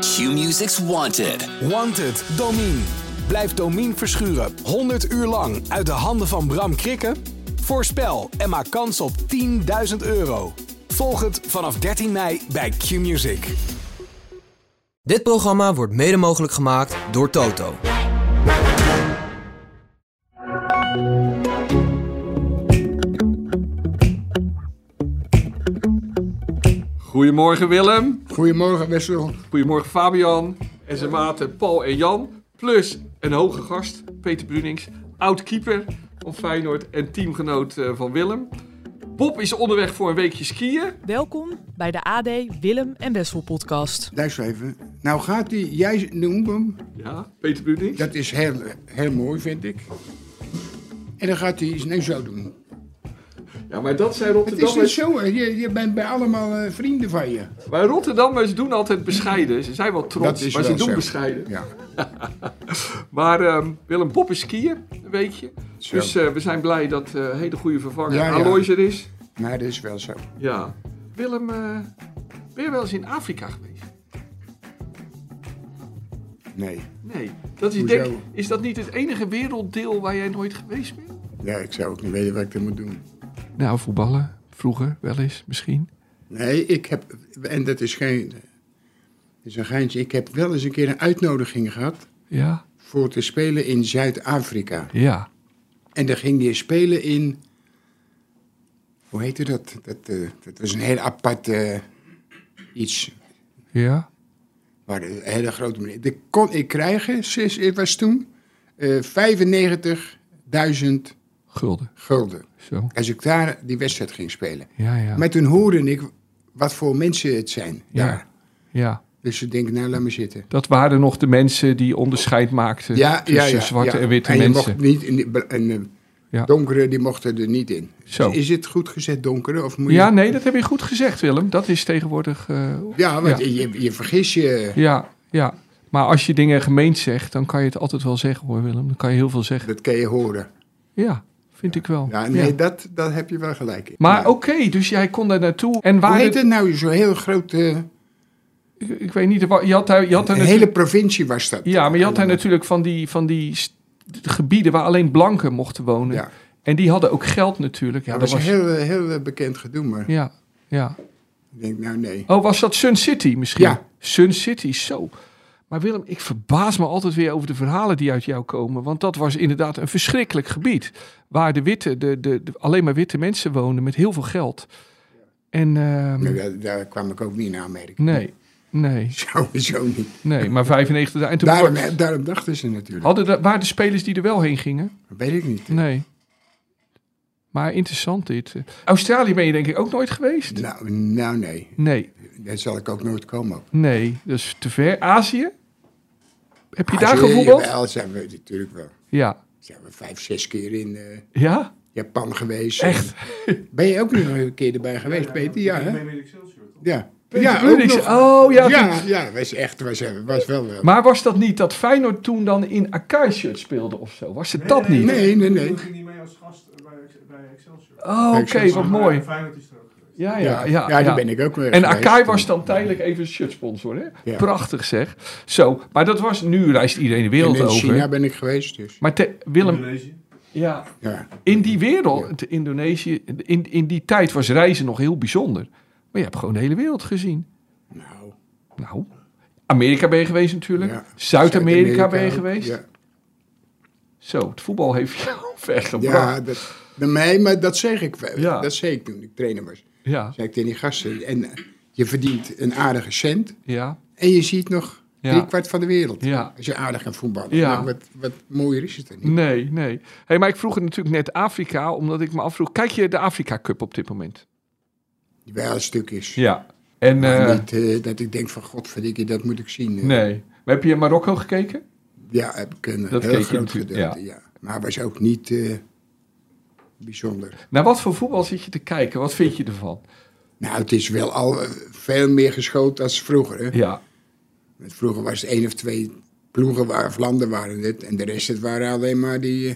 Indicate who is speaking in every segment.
Speaker 1: Q-Music's Wanted.
Speaker 2: Wanted, Domien. Blijf Domien verschuren 100 uur lang uit de handen van Bram Krikke? Voorspel en maak kans op 10.000 euro. Volg het vanaf 13 mei bij Q-Music.
Speaker 3: Dit programma wordt mede mogelijk gemaakt door Toto.
Speaker 4: Goedemorgen Willem.
Speaker 5: Goedemorgen Wessel.
Speaker 4: Goedemorgen Fabian. En zijn maten Paul en Jan. Plus een hoge gast, Peter Brunings. Oud-keeper van Feyenoord en teamgenoot eh, van Willem. Bob is onderweg voor een weekje skiën.
Speaker 6: Welkom bij de AD Willem en Wessel podcast.
Speaker 5: Luister even. Nou gaat hij, jij noemt hem.
Speaker 4: Ja, Peter Brunings.
Speaker 5: Dat is heel, heel mooi vind ik. En dan gaat hij ineens zo doen.
Speaker 4: Ja, maar dat zijn
Speaker 5: Het is niet
Speaker 4: Rotterdammers.
Speaker 5: zo, hè. je, je bent bij allemaal eh, vrienden van je.
Speaker 4: Maar Rotterdammers doen altijd bescheiden. Ze zijn wel
Speaker 5: Dat
Speaker 4: trots,
Speaker 5: is
Speaker 4: maar ze
Speaker 5: wel
Speaker 4: doen
Speaker 5: zo.
Speaker 4: bescheiden.
Speaker 5: Ja.
Speaker 4: Maar ehm, Willem, Bob is skiën, een weekje.
Speaker 5: Zo.
Speaker 4: Dus eh, we zijn blij dat eh, een hele goede vervanger
Speaker 5: Ja, ja.
Speaker 4: Alois er is.
Speaker 5: Maar dat is wel zo.
Speaker 4: Ja. Willem, eh, ben je wel eens in Afrika geweest?
Speaker 5: Nee.
Speaker 4: Nee. Dat is,
Speaker 5: Hoezo?
Speaker 4: denk, is dat niet het enige werelddeel waar jij nooit geweest bent?
Speaker 5: Ja, ik zou ook niet weten wat ik er moet doen.
Speaker 4: Nou, voetballen. Vroeger wel eens, misschien.
Speaker 5: Nee, ik heb, en dat is geen, dat is een geintje. Ik heb wel eens een keer een uitnodiging gehad
Speaker 4: Ja,
Speaker 5: voor te spelen in Zuid-Afrika.
Speaker 4: ja.
Speaker 5: En daar ging je spelen in. Hoe heette dat? Dat, eh, dat was een heel apart eh, iets.
Speaker 4: Ja.
Speaker 5: Maar een hele grote meneer. Dat kon ik krijgen, zes, het was toen, eh 95.000
Speaker 4: Gulden.
Speaker 5: gulden.
Speaker 4: Zo.
Speaker 5: Als ik daar die wedstrijd ging spelen.
Speaker 4: Ja, ja.
Speaker 5: Maar toen hoorde ik wat voor mensen het zijn
Speaker 4: Ja.
Speaker 5: daar.
Speaker 4: ja.
Speaker 5: Dus ik denk, nou laat me zitten.
Speaker 4: Dat waren nog de mensen die onderscheid maakten tussen zwarte en witte
Speaker 5: je
Speaker 4: mensen.
Speaker 5: Mocht niet in, die- en eh,
Speaker 4: Ja.
Speaker 5: donkere die mochten er niet in.
Speaker 4: Zo.
Speaker 5: Is het goed gezet donkere? Of moet je...
Speaker 4: Ja, nee, dat heb je goed gezegd, Willem. Dat is tegenwoordig... eh,
Speaker 5: Ja, want
Speaker 4: Ja.
Speaker 5: Je, je vergis je.
Speaker 4: ja, ja. Maar als je dingen gemeend zegt, dan kan je het altijd wel zeggen, hoor, Willem. Dan kan je heel veel zeggen.
Speaker 5: Dat kan je horen.
Speaker 4: Ja, vind ik wel.
Speaker 5: Ja, nee,
Speaker 4: Ja.
Speaker 5: Dat, dat heb je wel gelijk in.
Speaker 4: Maar
Speaker 5: Ja.
Speaker 4: oké, dus jij kon daar naartoe. En waar
Speaker 5: Hoe heet
Speaker 4: het-
Speaker 5: het nou? Zo'n heel groot... eh,
Speaker 4: Ik, ik weet niet, wa- je had daar, je had daar
Speaker 5: een
Speaker 4: natuurlijk-
Speaker 5: hele provincie was dat.
Speaker 4: ja, maar je had daar natuurlijk van die, van die st- gebieden waar alleen blanken mochten wonen.
Speaker 5: Ja.
Speaker 4: En die hadden ook geld natuurlijk. Ja,
Speaker 5: dat was een heel, eh, heel eh, bekend gedoe, maar
Speaker 4: Ja, ja.
Speaker 5: ik denk, nou nee.
Speaker 4: Oh, was dat Sun City misschien?
Speaker 5: Ja.
Speaker 4: Sun City, zo. Maar Willem, ik verbaas me altijd weer over de verhalen die uit jou komen. Want dat was inderdaad een verschrikkelijk gebied. Waar de witte, de, de, de- alleen maar witte mensen woonden met heel veel geld. En ehm,
Speaker 5: Nou, daar, daar kwam ik ook niet naar Amerika.
Speaker 4: nee, nee,
Speaker 5: Sowieso niet.
Speaker 4: nee. Maar 95... En toen
Speaker 5: Daarom, eh, daarom dachten ze natuurlijk.
Speaker 4: Hadden de, waren de spelers die er wel heen gingen?
Speaker 5: Dat weet ik niet.
Speaker 4: Nee. Maar interessant dit. Australië ben je denk ik ook nooit geweest?
Speaker 5: Nou, nou nee.
Speaker 4: Nee,
Speaker 5: Daar zal ik ook nooit komen. ook.
Speaker 4: nee. Dat is te ver. Azië? Heb je daar
Speaker 5: Azië,
Speaker 4: gevoetbald?
Speaker 5: Jawel, zijn we natuurlijk wel.
Speaker 4: Ja.
Speaker 5: Zijn we vijf, zes keer in eh,
Speaker 4: Ja?
Speaker 5: Japan geweest.
Speaker 4: Echt?
Speaker 5: Ben je ook nog een keer erbij geweest, Peter? Ja, hè? Ja.
Speaker 4: Peter
Speaker 5: Ja, ook
Speaker 4: Brunings.
Speaker 5: nog.
Speaker 4: Oh, ja.
Speaker 5: Ja,
Speaker 4: goed.
Speaker 5: ja, was echt, was, eh, was wel wel.
Speaker 4: Maar was dat niet dat Feyenoord toen dan in Akai-shirt speelde of zo? Was het dat niet?
Speaker 5: Nee, nee, nee.
Speaker 7: Ik ging niet mee als gast bij, Ex- bij Excelsior.
Speaker 4: Oh, oké,
Speaker 5: Kijk, zo-
Speaker 4: wat
Speaker 7: Maar
Speaker 4: mooi.
Speaker 7: Feyenoord is er ook geweest.
Speaker 4: Ja, ja, ja.
Speaker 5: ja,
Speaker 4: ja.
Speaker 5: daar ben ik ook weer
Speaker 4: En
Speaker 5: geweest.
Speaker 4: Akai was dan tijdelijk even shirtsponsor, hè?
Speaker 5: Ja.
Speaker 4: Prachtig zeg. Zo, maar dat was... Nu reist iedereen de
Speaker 5: En
Speaker 4: wereld
Speaker 5: in China
Speaker 4: over.
Speaker 5: ben ik geweest, dus.
Speaker 4: Maar te- Willem,
Speaker 7: Indonesië.
Speaker 4: ja,
Speaker 5: Ja.
Speaker 4: In die wereld, Indonesië, in, in die tijd was reizen nog heel bijzonder. Maar je hebt gewoon de hele wereld gezien.
Speaker 5: Nou,
Speaker 4: Nou, Amerika ben je geweest natuurlijk.
Speaker 5: ja.
Speaker 4: Zuid-Amerika ben je
Speaker 5: ook,
Speaker 4: geweest.
Speaker 5: Ja,
Speaker 4: Zo, het voetbal heeft jou vergebracht.
Speaker 5: ja dat, bij mij, maar dat zeg ik wel.
Speaker 4: Ja.
Speaker 5: Dat zei ik toen ik trainer was.
Speaker 4: Ja,
Speaker 5: Zei ik tegen die gasten. En eh, je verdient een aardige cent
Speaker 4: ja,
Speaker 5: en je ziet nog
Speaker 4: Ja.
Speaker 5: drie kwart van de wereld.
Speaker 4: ja.
Speaker 5: Als je aardig gaat voetballen.
Speaker 4: Ja.
Speaker 5: Nou, wat, wat mooier is het er niet.
Speaker 4: Nee, nee. Hey, maar ik vroeg het natuurlijk net Afrika, omdat ik me afvroeg. Kijk je de Afrika Cup op dit moment?
Speaker 5: Wel een stuk is.
Speaker 4: Ja. En,
Speaker 5: Maar
Speaker 4: eh,
Speaker 5: niet eh, dat ik denk van, godverdikke, dat moet ik zien. eh.
Speaker 4: nee. Maar heb je in Marokko gekeken?
Speaker 5: Ja, heb ik een
Speaker 4: Dat keek
Speaker 5: heel
Speaker 4: je
Speaker 5: groot
Speaker 4: natuurlijk,
Speaker 5: gedeelte. Ja. Maar was ook niet eh, bijzonder.
Speaker 4: Naar wat voor voetbal zit je te kijken? Wat vind je ervan?
Speaker 5: Nou, het is wel al eh, veel meer geschoten als vroeger. Hè?
Speaker 4: Ja,
Speaker 5: Want Vroeger was het één of twee ploegen waar, of landen waren het. En de rest het waren alleen maar die... eh,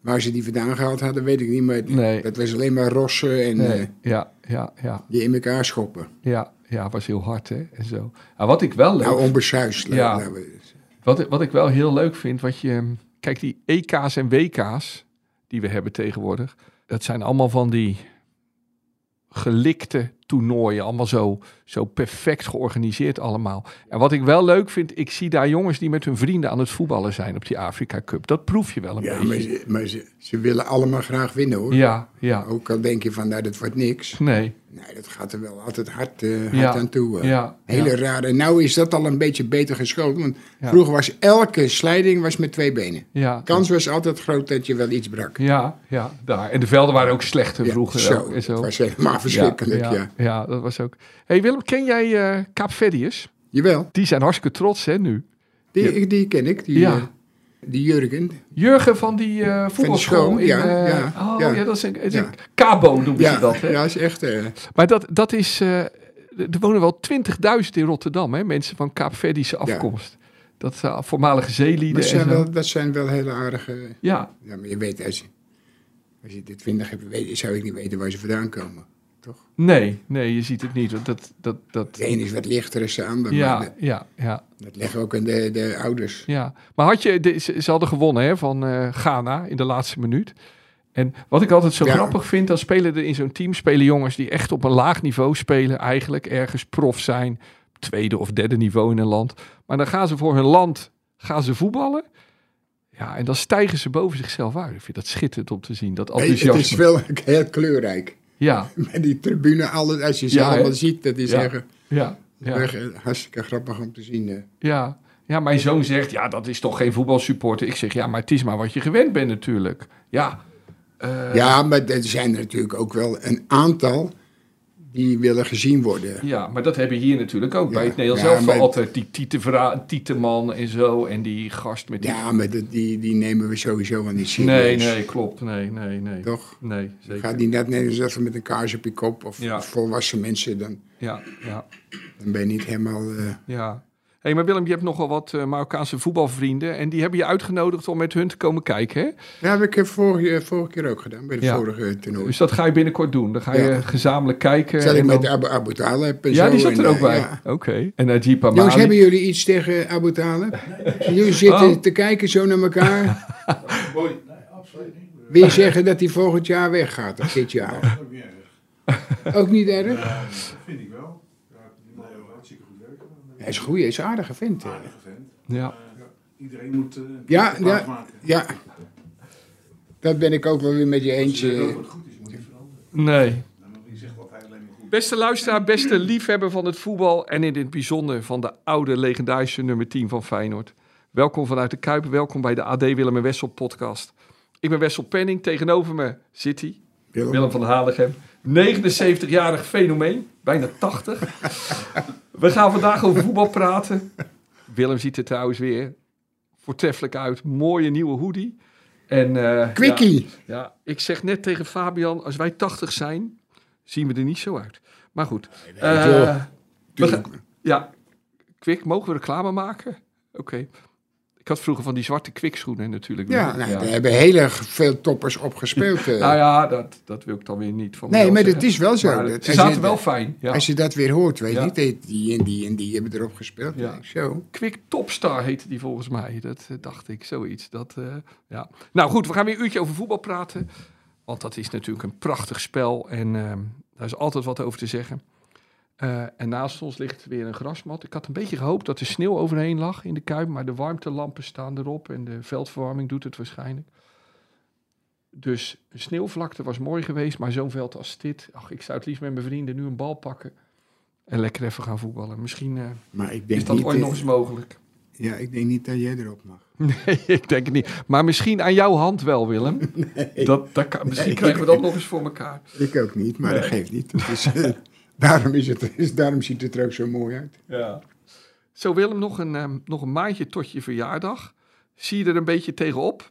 Speaker 5: waar ze die vandaan gehaald hadden, weet ik niet. Maar
Speaker 4: Nee.
Speaker 5: dat was alleen maar rossen en
Speaker 4: nee.
Speaker 5: eh,
Speaker 4: ja, ja, ja,
Speaker 5: die in elkaar schoppen.
Speaker 4: ja, Ja, was heel hard, hè? En zo. Nou, wat ik wel leuk
Speaker 5: Nou, onbesuiselijk.
Speaker 4: Ja.
Speaker 5: Nou, we-
Speaker 4: Wat, ik- wat ik wel heel leuk vind, wat je. hm, Kijk, die EK's en WK's die we hebben tegenwoordig, dat zijn allemaal van die gelikte toernooien. Allemaal zo, zo perfect georganiseerd allemaal. En wat ik wel leuk vind, ik zie daar jongens die met hun vrienden aan het voetballen zijn op die Afrika Cup. Dat proef je wel een
Speaker 5: ja, maar,
Speaker 4: beetje.
Speaker 5: ze, maar ze, ze willen allemaal graag winnen hoor.
Speaker 4: Ja, ja.
Speaker 5: Ook al denk je van, nou, dat wordt niks.
Speaker 4: Nee,
Speaker 5: Nee, dat gaat er wel altijd hard, eh, hard
Speaker 4: Ja.
Speaker 5: aan toe. eh.
Speaker 4: ja.
Speaker 5: Hele
Speaker 4: ja.
Speaker 5: raar. En nou is dat al een beetje beter geschoold. Want
Speaker 4: Ja.
Speaker 5: vroeger was elke slijding was met twee benen.
Speaker 4: Ja,
Speaker 5: Kans was altijd groot dat je wel iets brak.
Speaker 4: ja, ja, daar. En de velden waren ook slechter
Speaker 5: Ja,
Speaker 4: vroeger.
Speaker 5: zo.
Speaker 4: ook en
Speaker 5: Dat
Speaker 4: zo.
Speaker 5: was helemaal verschrikkelijk, ja.
Speaker 4: ja, ja. ja, dat was ook. hey Willem, ken jij eh Kaapverdiërs?
Speaker 5: Jawel,
Speaker 4: Die zijn hartstikke trots, hè, nu.
Speaker 5: die, die ken ik, die,
Speaker 4: Ja.
Speaker 5: eh, die Jurgen.
Speaker 4: Jurgen van die eh voetbalschool.
Speaker 5: school,
Speaker 4: in,
Speaker 5: ja,
Speaker 4: eh,
Speaker 5: ja,
Speaker 4: oh, ja.
Speaker 5: ja.
Speaker 4: dat is een, is
Speaker 5: Ja.
Speaker 4: een kabo noemen ze
Speaker 5: Ja,
Speaker 4: dat. Hè?
Speaker 5: ja, is echt... eh,
Speaker 4: Maar dat, dat is, eh, er wonen wel 20.000 in Rotterdam, hè, mensen van Kaapverdische afkomst. Dat zijn voormalige zeelieden
Speaker 5: maar
Speaker 4: en
Speaker 5: ze zijn
Speaker 4: zo.
Speaker 5: wel, dat zijn wel hele aardige...
Speaker 4: Ja,
Speaker 5: Ja, maar je weet, als je, als je dit vindig hebt, weet, zou ik niet weten waar ze vandaan komen.
Speaker 4: nee, nee, je ziet het niet. want Dat, dat, dat,
Speaker 5: De een is wat lichter dan de ander, maar
Speaker 4: ja,
Speaker 5: dat,
Speaker 4: ja, ja,
Speaker 5: dat leggen we ook aan de, de ouders.
Speaker 4: ja. Maar had je, de- ze, ze hadden gewonnen hè, van eh, Ghana in de laatste minuut. En wat ik altijd zo
Speaker 5: Ja.
Speaker 4: grappig vind, dan spelen er in zo'n team spelen jongens die echt op een laag niveau spelen, eigenlijk ergens prof zijn, tweede of derde niveau in een land. Maar dan gaan ze voor hun land gaan ze voetballen. Ja, en dan stijgen ze boven zichzelf uit. Ik vind dat schitterend om te zien, dat
Speaker 5: Nee, het is
Speaker 4: enthousiasme.
Speaker 5: wel heel kleurrijk.
Speaker 4: Ja,
Speaker 5: Met die tribune, alles, als je ze
Speaker 4: Ja, hè?
Speaker 5: allemaal ziet, dat is
Speaker 4: Ja.
Speaker 5: echt,
Speaker 4: ja, ja,
Speaker 5: echt, eh, hartstikke grappig om te zien. eh.
Speaker 4: ja. Ja, mijn zoon zegt, ja, dat is toch geen voetbalsupporter. Ik zeg, ja, maar het is maar wat je gewend bent natuurlijk. Ja, Eh.
Speaker 5: ja, maar er zijn er natuurlijk ook wel een aantal die willen gezien worden.
Speaker 4: Ja, maar dat heb je hier natuurlijk ook.
Speaker 5: Ja,
Speaker 4: bij het Nederlands
Speaker 5: ja,
Speaker 4: zelf
Speaker 5: maar-
Speaker 4: altijd die Tiete Vra- Tieteman en zo. En die gast met die...
Speaker 5: Ja, maar dat- die, die nemen we sowieso wel niet serieus.
Speaker 4: nee, nee, klopt. Nee, nee, nee.
Speaker 5: Toch?
Speaker 4: Nee, zeker.
Speaker 5: Gaat die net Nederlands even met een kaars op je kop of
Speaker 4: Ja.
Speaker 5: of volwassen mensen, dan,
Speaker 4: Ja, ja,
Speaker 5: dan ben je niet helemaal... eh,
Speaker 4: ja. Hé, hey, maar Willem, je hebt nogal wat eh, Marokkaanse voetbalvrienden. En die hebben je uitgenodigd om met hun te komen kijken, hè?
Speaker 5: Ja, heb ik eh, vorige, vorige keer ook gedaan, bij de
Speaker 4: Ja.
Speaker 5: vorige eh, toernooi.
Speaker 4: Dus dat ga je binnenkort doen. Dan ga je
Speaker 5: Ja.
Speaker 4: gezamenlijk kijken.
Speaker 5: Zat ik
Speaker 4: en
Speaker 5: met
Speaker 4: dan-
Speaker 5: Abu, Abu Talib en
Speaker 4: Ja,
Speaker 5: zo
Speaker 4: die zat
Speaker 5: en,
Speaker 4: er ook
Speaker 5: eh,
Speaker 4: bij.
Speaker 5: ja.
Speaker 4: Oké. En Najib Amali.
Speaker 5: Jongens, hebben jullie iets tegen Abu Talib? Jullie zitten
Speaker 4: Oh.
Speaker 5: te kijken zo naar elkaar.
Speaker 7: Mooi. Nee, absoluut niet. Dat
Speaker 5: Wie zeggen dat hij volgend jaar weggaat, of dit jaar?
Speaker 7: is ook niet erg.
Speaker 5: Ook niet erg?
Speaker 7: Ja, dat vind ik wel. Ja, die man heeft hartstikke goed werk gedaan.
Speaker 5: Hij is een goeie, hij is een aardige vent. hè.
Speaker 7: Aardige vent.
Speaker 4: Ja.
Speaker 7: Iedereen moet eh, een
Speaker 5: Ja,
Speaker 7: keer plaats
Speaker 5: ja.
Speaker 7: maken.
Speaker 5: Ja, dat ben ik ook wel weer met je
Speaker 7: Als je weet
Speaker 5: eentje.
Speaker 7: wat goed is, moet je veranderen.
Speaker 4: Nee.
Speaker 7: Dan die zegt altijd alleen maar goed.
Speaker 4: Beste luisteraar, beste liefhebber van het voetbal en in het bijzonder van de oude legendarische nummer 10 van Feyenoord. Welkom vanuit de Kuip, welkom bij de AD Willem en Wessel podcast. Ik ben Wessel Penning, tegenover me zit hij, Willem van Haligem, 79-jarig fenomeen, bijna 80. We gaan vandaag over voetbal praten. Willem ziet er trouwens weer voortreffelijk uit, mooie nieuwe hoodie. En, eh, ja.
Speaker 5: Quickie!
Speaker 4: Ja, ik zeg net tegen Fabian, als wij 80 zijn, zien we er niet zo uit. Maar goed. Eh,
Speaker 5: joh.
Speaker 4: we gaan- ja, kwik, mogen we reclame maken? Oké. Ik had vroeger van die zwarte kwikschoenen natuurlijk.
Speaker 5: Ja,
Speaker 4: nog.
Speaker 5: nou, daar hebben heel erg veel toppers op gespeeld. eh.
Speaker 4: Nou ja, dat, dat wil ik dan weer niet van
Speaker 5: Nee,
Speaker 4: mezelf
Speaker 5: maar dat
Speaker 4: zeggen.
Speaker 5: is wel zo.
Speaker 4: Maar
Speaker 5: Dat-
Speaker 4: Ze
Speaker 5: als je-
Speaker 4: zaten wel fijn. Ja.
Speaker 5: Als je dat weer hoort, weet je
Speaker 4: Ja.
Speaker 5: niet, die, die en die en die hebben erop gespeeld.
Speaker 4: Ja.
Speaker 5: Nee, Zo.
Speaker 4: Kwik Topstar heette die volgens mij. Dat eh, dacht ik, zoiets. Dat, eh, ja. Nou goed, we gaan weer een uurtje over voetbal praten. Want dat is natuurlijk een prachtig spel. En ehm, daar is altijd wat over te zeggen. Eh, en naast ons ligt weer een grasmat. Ik had een beetje gehoopt dat er sneeuw overheen lag in de Kuip. Maar de warmtelampen staan erop. En de veldverwarming doet het waarschijnlijk. Dus een sneeuwvlakte was mooi geweest. Maar zo'n veld als dit. Ach, ik zou het liefst met mijn vrienden nu een bal pakken. En lekker even gaan voetballen. Misschien eh,
Speaker 5: Maar ik denk,
Speaker 4: is dat
Speaker 5: niet,
Speaker 4: ooit
Speaker 5: eh,
Speaker 4: nog eens mogelijk.
Speaker 5: ja, ik denk niet dat jij erop mag.
Speaker 4: Nee, ik denk het niet. Maar misschien aan jouw hand wel, Willem. Dat, dat kan, misschien krijgen we dat nog eens voor elkaar.
Speaker 5: Ik ook niet, maar dat geeft niet. Het is, eh, daarom, is het, is, daarom ziet het er ook zo mooi uit.
Speaker 4: Ja. Zo, Willem, nog een, ehm, nog een maandje tot je verjaardag. Zie je er een beetje tegenop?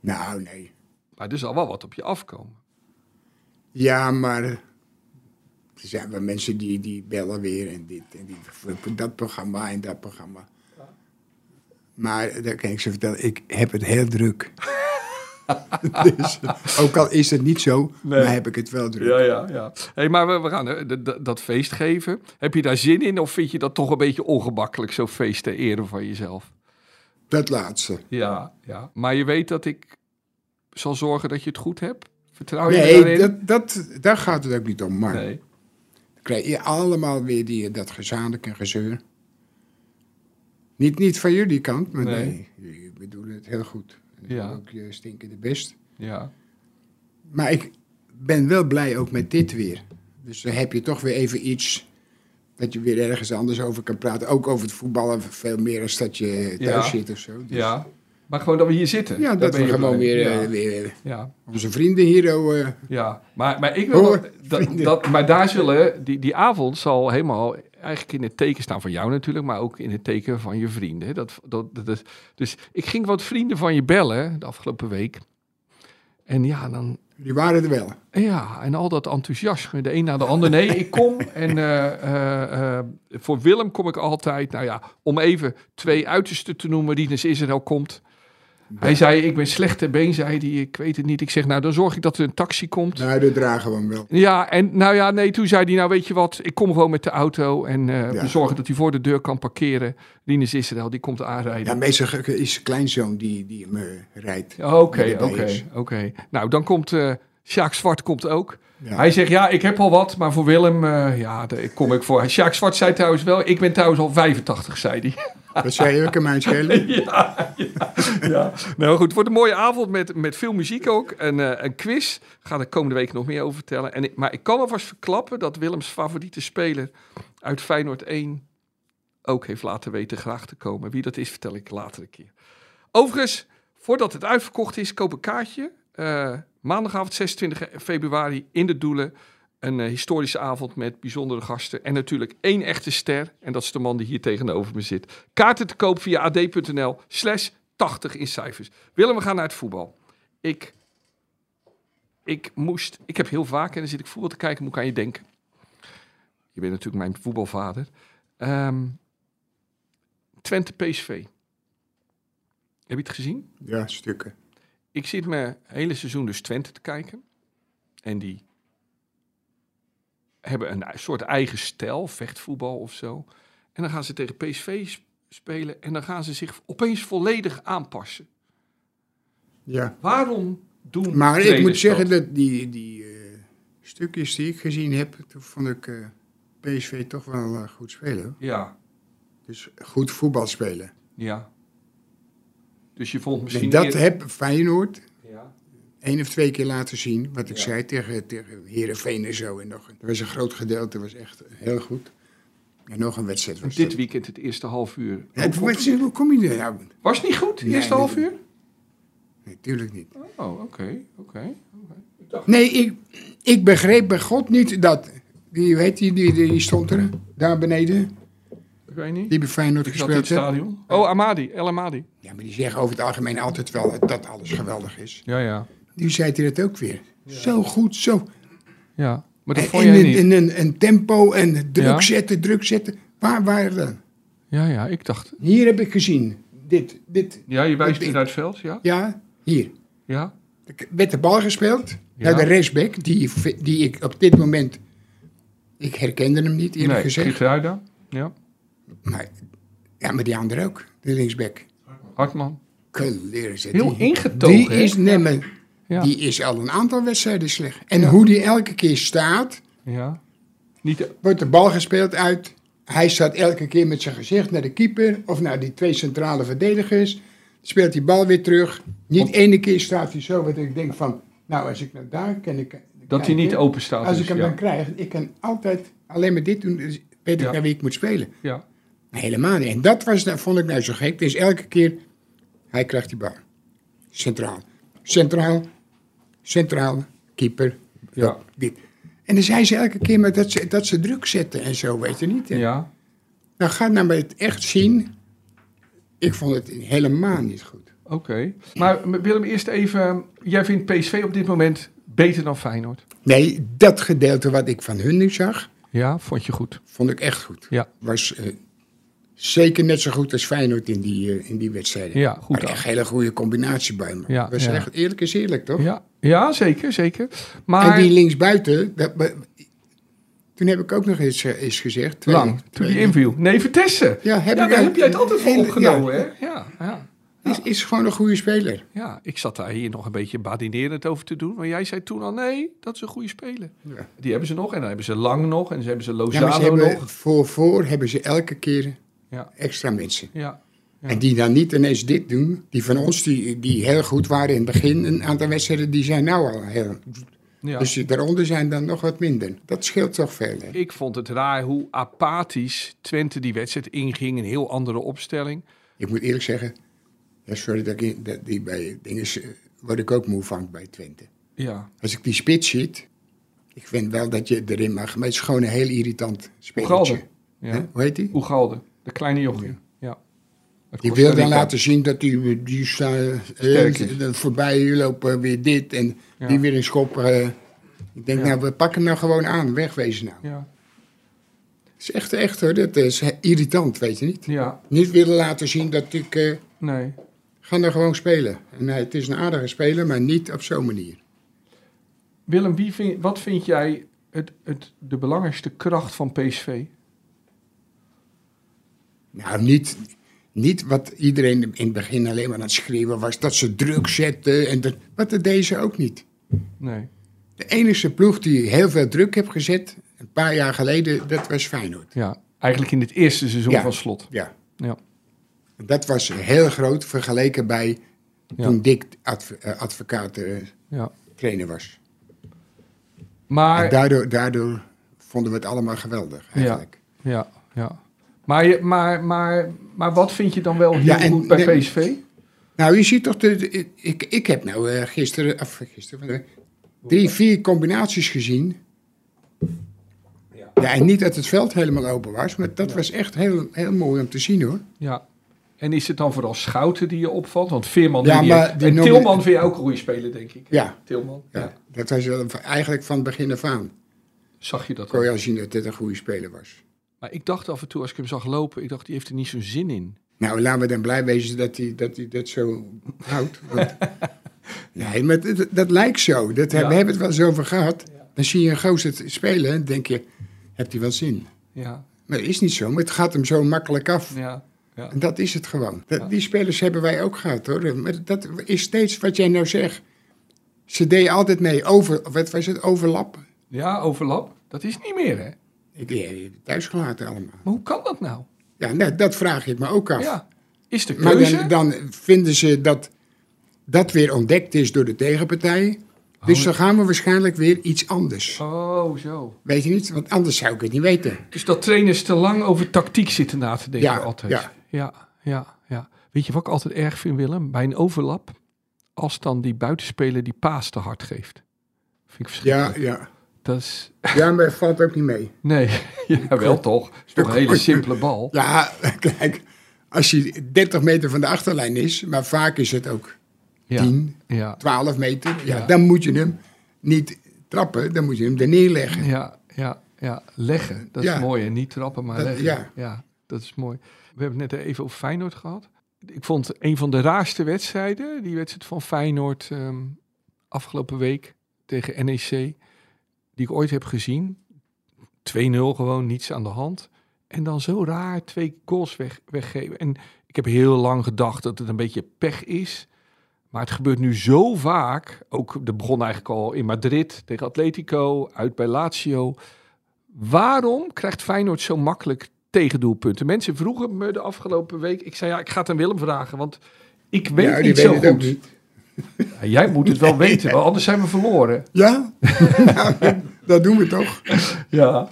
Speaker 5: Nou, nee.
Speaker 4: Maar er zal wel wat op je afkomen.
Speaker 5: Ja, maar er zijn wel mensen die, die bellen weer en dit en die, voor dat programma en dat programma. Maar, dat kan ik ze vertellen, ik heb het heel druk. dus, ook al is het niet zo,
Speaker 4: Nee.
Speaker 5: maar heb ik het wel druk.
Speaker 4: Ja, ja, ja. Hey, maar we, we gaan eh, d- d- dat feest geven. Heb je daar zin in of vind je dat toch een beetje ongemakkelijk, zo'n feest te eren van jezelf?
Speaker 5: Dat laatste.
Speaker 4: Ja, ja. Maar je weet dat ik zal zorgen dat je het goed hebt? Vertrouw je me
Speaker 5: Nee,
Speaker 4: daarin?
Speaker 5: dat, dat, daar gaat het ook niet om. Maar
Speaker 4: Nee.
Speaker 5: dan krijg je allemaal weer die, dat gezamenlijk en gezeur. Niet, niet van jullie kant, maar
Speaker 4: Nee.
Speaker 5: nee. jullie bedoelen het heel goed. En
Speaker 4: Ja.
Speaker 5: Ook je stinkende best.
Speaker 4: Ja.
Speaker 5: Maar ik ben wel blij ook met dit weer. Dus dan heb je toch weer even iets dat je weer ergens anders over kan praten. Ook over het voetballen veel meer als dat je thuis
Speaker 4: Ja.
Speaker 5: zit of zo. Dus-
Speaker 4: ja. Maar gewoon dat we hier zitten.
Speaker 5: Ja,
Speaker 4: daar
Speaker 5: dat
Speaker 4: ben
Speaker 5: we
Speaker 4: je
Speaker 5: gewoon
Speaker 4: blij.
Speaker 5: weer,
Speaker 4: Ja.
Speaker 5: eh, weer
Speaker 4: ja.
Speaker 5: onze vrienden hier... oh, eh,
Speaker 4: Ja, maar, maar ik wil wel-
Speaker 5: Hoor,
Speaker 4: dat,
Speaker 5: vrienden.
Speaker 4: dat, maar daar zullen die, die avond zal helemaal eigenlijk in het teken staan van jou natuurlijk, maar ook in het teken van je vrienden. hè. Dat, dat, dat, dat- dus ik ging wat vrienden van je bellen de afgelopen week. En ja, dan,
Speaker 5: die waren er wel.
Speaker 4: ja, en al dat enthousiasme, de een na de ander. Nee, ik kom en eh, eh, eh, voor Willem kom ik altijd, nou ja, om even twee uitersten te noemen, die naar Israël komt. Hij zei, ik ben slecht ter been, zei hij, ik weet het niet. Ik zeg, nou, dan zorg ik dat er een taxi komt.
Speaker 5: Nou, dat dragen we hem wel.
Speaker 4: Ja, en nou ja, nee, toen zei hij, nou weet je wat, ik kom gewoon met de auto en eh,
Speaker 5: Ja.
Speaker 4: we zorgen dat hij voor de deur kan parkeren. Linus Israël, die komt
Speaker 5: Ja,
Speaker 4: aanrijden.
Speaker 5: meestal ge- is zijn kleinzoon die, die hem eh, rijdt.
Speaker 4: Ja, Oké,
Speaker 5: Die erbij
Speaker 4: oké,
Speaker 5: is.
Speaker 4: oké. Nou, dan komt eh Sjaak Zwart komt ook.
Speaker 5: Ja.
Speaker 4: Hij zegt, ja, ik heb al wat, maar voor Willem, eh, ja, daar kom ik voor. Sjaak Zwart zei trouwens wel, ik ben trouwens al 85, zei hij.
Speaker 5: Dat zei je ook aan mijn schelen.
Speaker 4: ja, ja, ja. Nou goed, het wordt een mooie avond met, met veel muziek ook. En eh, een quiz. Ga ik komende week nog meer over vertellen. En, ik- maar ik kan alvast verklappen dat Willems favoriete speler uit Feyenoord 1 ook heeft laten weten graag te komen. Wie dat is, vertel ik later een keer. Overigens, voordat het uitverkocht is, koop een kaartje. Eh, maandagavond 26 februari in de Doelen. Een eh, historische avond met bijzondere gasten. En natuurlijk één echte ster. En dat is de man die hier tegenover me zit. Kaarten te koop via ad.nl slash 80 in cijfers. Willem, we gaan naar het voetbal. Ik, ik moest... Ik heb heel vaak, en dan zit ik voetbal te kijken, moet ik aan je denken. Je bent natuurlijk mijn voetbalvader. Ehm, Twente PSV. Heb je het gezien?
Speaker 5: Ja, stukken.
Speaker 4: ik zit me hele seizoen dus Twente te kijken. En die hebben een soort eigen stijl, vechtvoetbal of zo. En dan gaan ze tegen PSV sp- spelen en dan gaan ze zich opeens volledig aanpassen.
Speaker 5: Ja.
Speaker 4: Waarom doen
Speaker 5: Maar ik
Speaker 4: trainers
Speaker 5: moet zeggen
Speaker 4: dat?
Speaker 5: dat die, die eh, stukjes die ik gezien heb, toen vond ik eh, PSV toch wel eh, goed spelen. hoor.
Speaker 4: Ja,
Speaker 5: Dus goed voetbal spelen.
Speaker 4: ja. Dus je vond
Speaker 5: En
Speaker 4: misschien...
Speaker 5: dat
Speaker 4: eer-
Speaker 5: heb Feyenoord
Speaker 4: ja.
Speaker 5: één of twee keer laten zien. Wat ik
Speaker 4: Ja.
Speaker 5: zei tegen, tegen Heerenveen en zo. En nog, er was een groot gedeelte, was echt heel goed. En nog een wedstrijd was
Speaker 4: dus Dit
Speaker 5: dat.
Speaker 4: weekend het eerste half uur.
Speaker 5: Ja, het wordt- hoe kom je er nou?
Speaker 4: Was het niet goed, het
Speaker 5: Nee,
Speaker 4: eerste half
Speaker 5: nee.
Speaker 4: uur?
Speaker 5: Natuurlijk niet.
Speaker 4: Oh, oké, oké.
Speaker 5: Nee, ik, ik begreep bij God niet dat. Die, weet die, die, die stond er, daar beneden.
Speaker 4: Ik weet niet.
Speaker 5: Die bij Feyenoord
Speaker 4: Ik zat in het
Speaker 5: gespeeld heeft.
Speaker 4: stadion. Oh, Amadi, El Amadi.
Speaker 5: Ja, maar die zeggen over het algemeen altijd wel dat alles geweldig is.
Speaker 4: Ja, ja.
Speaker 5: Nu zei hij dat ook weer. Zo goed, zo.
Speaker 4: Ja, maar dat
Speaker 5: En,
Speaker 4: vond jij
Speaker 5: en-
Speaker 4: niet.
Speaker 5: en een, een tempo en druk
Speaker 4: Ja.
Speaker 5: zetten, druk zetten. Waar waren dan?
Speaker 4: Ja, ja, ik dacht.
Speaker 5: Hier heb ik gezien. Dit, dit.
Speaker 4: Ja, je wijst
Speaker 5: Ik-
Speaker 4: nu naar het veld, ja?
Speaker 5: Ja, hier.
Speaker 4: Ja.
Speaker 5: Er werd de bal gespeeld naar de rechtsback, die, die ik op dit moment... Ik herkende hem niet, eerlijk
Speaker 4: Nee,
Speaker 5: gezegd.
Speaker 4: Gitruida. Ja.
Speaker 5: Maar, ja, maar die andere ook, de linksback.
Speaker 4: Hartman.
Speaker 5: Kleren zit
Speaker 4: Heel
Speaker 5: die.
Speaker 4: ingetogen,
Speaker 5: Die
Speaker 4: hè?
Speaker 5: is, nee, maar
Speaker 4: Ja.
Speaker 5: die is al een aantal wedstrijden slecht. En hoe die elke keer staat,
Speaker 4: ja. Niet,
Speaker 5: wordt de bal gespeeld uit. Hij staat elke keer met zijn gezicht naar de keeper of naar die twee centrale verdedigers. Speelt die bal weer terug. Niet ene keer staat hij zo, want ik denk van, nou als ik nou daar kan ik...
Speaker 4: dat hij niet
Speaker 5: kijken.
Speaker 4: open staat.
Speaker 5: Als
Speaker 4: dus,
Speaker 5: ik hem
Speaker 4: ja.
Speaker 5: dan krijg, ik kan altijd alleen maar dit doen, dus weet ik
Speaker 4: Ja.
Speaker 5: naar wie ik moet spelen.
Speaker 4: Ja.
Speaker 5: Helemaal niet. En dat was, dat vond ik nou zo gek. Dus elke keer, hij krijgt die bal. Centraal. Centraal. Centraal. Keeper.
Speaker 4: Ja.
Speaker 5: Dit. En dan zei ze elke keer maar dat, ze, dat ze druk zetten en zo, weet je niet. hè?
Speaker 4: Ja.
Speaker 5: Nou, ga nou maar het echt zien. Ik vond het helemaal niet goed.
Speaker 4: Oké. Maar Willem, eerst even. Jij vindt PSV op dit moment beter dan Feyenoord.
Speaker 5: Nee, dat gedeelte wat ik van hun nu zag,
Speaker 4: Ja, vond je goed.
Speaker 5: vond ik echt goed.
Speaker 4: Ja.
Speaker 5: Was eh, zeker net zo goed als Feyenoord in die, eh, in die wedstrijden.
Speaker 4: Ja, goed
Speaker 5: Maar
Speaker 4: af.
Speaker 5: echt hele goede combinatie bij me.
Speaker 4: Ja,
Speaker 5: We zijn
Speaker 4: ja.
Speaker 5: echt eerlijk is eerlijk, toch?
Speaker 4: Ja, ja zeker, zeker. Maar
Speaker 5: En die linksbuiten, dat, be- toen heb ik ook nog eens, eh, eens gezegd. twee-
Speaker 4: lang, toen
Speaker 5: twee-
Speaker 4: die inviel. Nee, Vitesse.
Speaker 5: Ja, heb
Speaker 4: ja,
Speaker 5: ik
Speaker 4: daar
Speaker 5: uit-
Speaker 4: heb jij het altijd voor
Speaker 5: hele-
Speaker 4: opgenomen, hè? Ja, ja.
Speaker 5: Is, is gewoon een goede speler.
Speaker 4: Ja, ik zat daar hier nog een beetje badinerend over te doen. Maar jij zei toen al, nee, dat is een goede speler.
Speaker 5: Ja.
Speaker 4: Die hebben ze nog en dan hebben ze Lang nog en ze hebben ze
Speaker 5: Ja,
Speaker 4: Lozano
Speaker 5: maar ze hebben,
Speaker 4: nog.
Speaker 5: voor, voor hebben ze elke keer
Speaker 4: Ja.
Speaker 5: extra mensen.
Speaker 4: Ja, Ja.
Speaker 5: En die dan niet ineens dit doen. Die van ons, die, die heel goed waren in het begin, een aantal wedstrijden, die zijn nou al heel.
Speaker 4: ja.
Speaker 5: Dus die daaronder zijn dan nog wat minder. Dat scheelt toch veel. Hè?
Speaker 4: Ik vond het raar hoe apathisch Twente die wedstrijd inging. Een heel andere opstelling.
Speaker 5: Ik moet eerlijk zeggen, ja, sorry dat ik dat die bij dingen eh, word ik ook moe van bij Twente.
Speaker 4: Ja.
Speaker 5: Als ik die spits ziet, ik vind wel dat je erin mag, maar het is gewoon een heel irritant
Speaker 4: Oegalde.
Speaker 5: spelletje. Hè?
Speaker 4: Ja.
Speaker 5: Hoe heet die?
Speaker 4: Oegalde, de kleine jochie. Ja. Uit
Speaker 5: Die
Speaker 4: Costa
Speaker 5: wil dan
Speaker 4: Rica.
Speaker 5: laten zien dat die, die staan
Speaker 4: Sterk is.
Speaker 5: voorbij lopen weer dit en
Speaker 4: Ja.
Speaker 5: die weer een schop. eh. ik denk,
Speaker 4: Ja.
Speaker 5: nou, we pakken hem nou gewoon aan, wegwezen nou.
Speaker 4: Ja.
Speaker 5: Het is echt, echt hoor, dat is eh, irritant, weet je niet.
Speaker 4: ja,
Speaker 5: Niet willen laten zien dat ik, eh,
Speaker 4: nee.
Speaker 5: ga nou gewoon spelen. En nee, het is een aardige speler, maar niet op zo'n manier.
Speaker 4: Willem, wie vind, wat vind jij het, het, de belangrijkste kracht van PSV?
Speaker 5: Nou, niet, niet wat iedereen in het begin alleen maar aan het schreeuwen was, dat ze druk zetten en dat, wat dat deden ze ook niet.
Speaker 4: Nee.
Speaker 5: De enige ploeg die heel veel druk heeft gezet, een paar jaar geleden, dat was Feyenoord.
Speaker 4: Ja, eigenlijk in het eerste seizoen
Speaker 5: Ja.
Speaker 4: van slot.
Speaker 5: Ja.
Speaker 4: Ja.
Speaker 5: Dat was heel groot vergeleken bij
Speaker 4: Ja.
Speaker 5: toen Dick adv- eh, advocaat eh,
Speaker 4: Ja.
Speaker 5: trainer was. En
Speaker 4: Maar,
Speaker 5: daardoor, daardoor vonden we het allemaal geweldig eigenlijk.
Speaker 4: ja, ja. Maar, je- maar, maar, maar wat vind je dan wel heel
Speaker 5: Ja, en-
Speaker 4: goed bij
Speaker 5: nee.
Speaker 4: PSV?
Speaker 5: Nou, je ziet toch, de, de- ik, ik heb nou eh, gisteren, of gisteren, van de week, drie, vier combinaties gezien. Ja. en niet dat het veld helemaal open was, maar dat was echt heel, heel mooi om te zien hoor.
Speaker 4: Ja. En is het dan vooral Schouten die je opvalt? Want Veerman
Speaker 5: Ja,
Speaker 4: noem je-
Speaker 5: maar die
Speaker 4: en
Speaker 5: noemde-
Speaker 4: Tilman vind je ook een goede speler, denk ik.
Speaker 5: Ja,
Speaker 4: Tilman, ja.
Speaker 5: ja. dat was wel eigenlijk van begin af aan.
Speaker 4: Zag je dat
Speaker 5: Kon
Speaker 4: ook?
Speaker 5: je al zien dat dit een goede speler was.
Speaker 4: Maar ik dacht af en toe, als ik hem zag lopen, ik dacht, die heeft er niet zo'n zin in.
Speaker 5: Nou, laten we dan blij wezen dat hij dat, hij dat zo houdt. want- nee, maar dat, dat lijkt zo. Dat,
Speaker 4: Ja.
Speaker 5: We hebben het wel eens over gehad. Dan zie je een gozer het spelen en denk je, hebt hij wel zin?
Speaker 4: Ja,
Speaker 5: Maar dat is niet zo, maar het gaat hem zo makkelijk af.
Speaker 4: ja,
Speaker 5: En dat is het gewoon. Dat- Die spelers hebben wij ook gehad hoor. Maar dat is steeds wat jij nou zegt. Ze deden altijd mee over, wat was het, overlap?
Speaker 4: ja, overlap. Dat is niet meer, hè?
Speaker 5: Ik die heb je thuisgelaten allemaal.
Speaker 4: Maar hoe kan dat nou?
Speaker 5: Ja, nou, dat vraag ik me ook af.
Speaker 4: Ja, is de
Speaker 5: Maar
Speaker 4: keuze...
Speaker 5: dan, dan vinden ze dat dat weer ontdekt is door de tegenpartij. Dus dan gaan we waarschijnlijk weer iets anders.
Speaker 4: Oh, zo.
Speaker 5: Weet je niet? Want anders zou ik het niet weten.
Speaker 4: Dus dat trainers te lang over tactiek zitten na te denken
Speaker 5: Ja,
Speaker 4: altijd.
Speaker 5: ja.
Speaker 4: ja, ja, ja. Weet je wat ik altijd erg vind, Willem? Bij een overlap, als dan die buitenspeler die paas te hard geeft. Vind ik verschrikkelijk.
Speaker 5: Ja, ja.
Speaker 4: Dat is...
Speaker 5: ja maar het valt ook niet mee.
Speaker 4: Nee, jawel toch. Het is toch een hele simpele bal.
Speaker 5: Ja, kijk. Als je 30 meter van de achterlijn is, maar vaak is het ook
Speaker 4: Ja,
Speaker 5: 10,
Speaker 4: ja,
Speaker 5: 12 meter. Ja,
Speaker 4: Ja.
Speaker 5: Dan moet je hem niet trappen, dan moet je hem er neerleggen.
Speaker 4: ja, ja, ja. leggen. Dat is
Speaker 5: Ja.
Speaker 4: mooi. En niet trappen, maar
Speaker 5: Dat-
Speaker 4: leggen. Ja.
Speaker 5: ja.
Speaker 4: dat is mooi. We hebben het net even over Feyenoord gehad. Ik vond een van de raarste wedstrijden, die wedstrijd van Feyenoord ehm, afgelopen week tegen NEC, die ik ooit heb gezien. 2-0 gewoon, niets aan de hand. En dan zo raar twee goals weg, weggeven. En ik heb heel lang gedacht dat het een beetje pech is. Maar het gebeurt nu zo vaak. Ook dat begon eigenlijk al in Madrid tegen Atletico, uit bij Lazio. Waarom krijgt Feyenoord zo makkelijk tegendoelpunten? Mensen vroegen me de afgelopen week. Ik zei ja, ik ga het aan Willem vragen, want ik weet
Speaker 5: Ja, die
Speaker 4: niet
Speaker 5: weet
Speaker 4: zo
Speaker 5: het ook
Speaker 4: goed.
Speaker 5: niet.
Speaker 4: Ja, jij moet het wel weten, want anders zijn we verloren.
Speaker 5: Ja? Nou, dat doen we toch?
Speaker 4: Ja.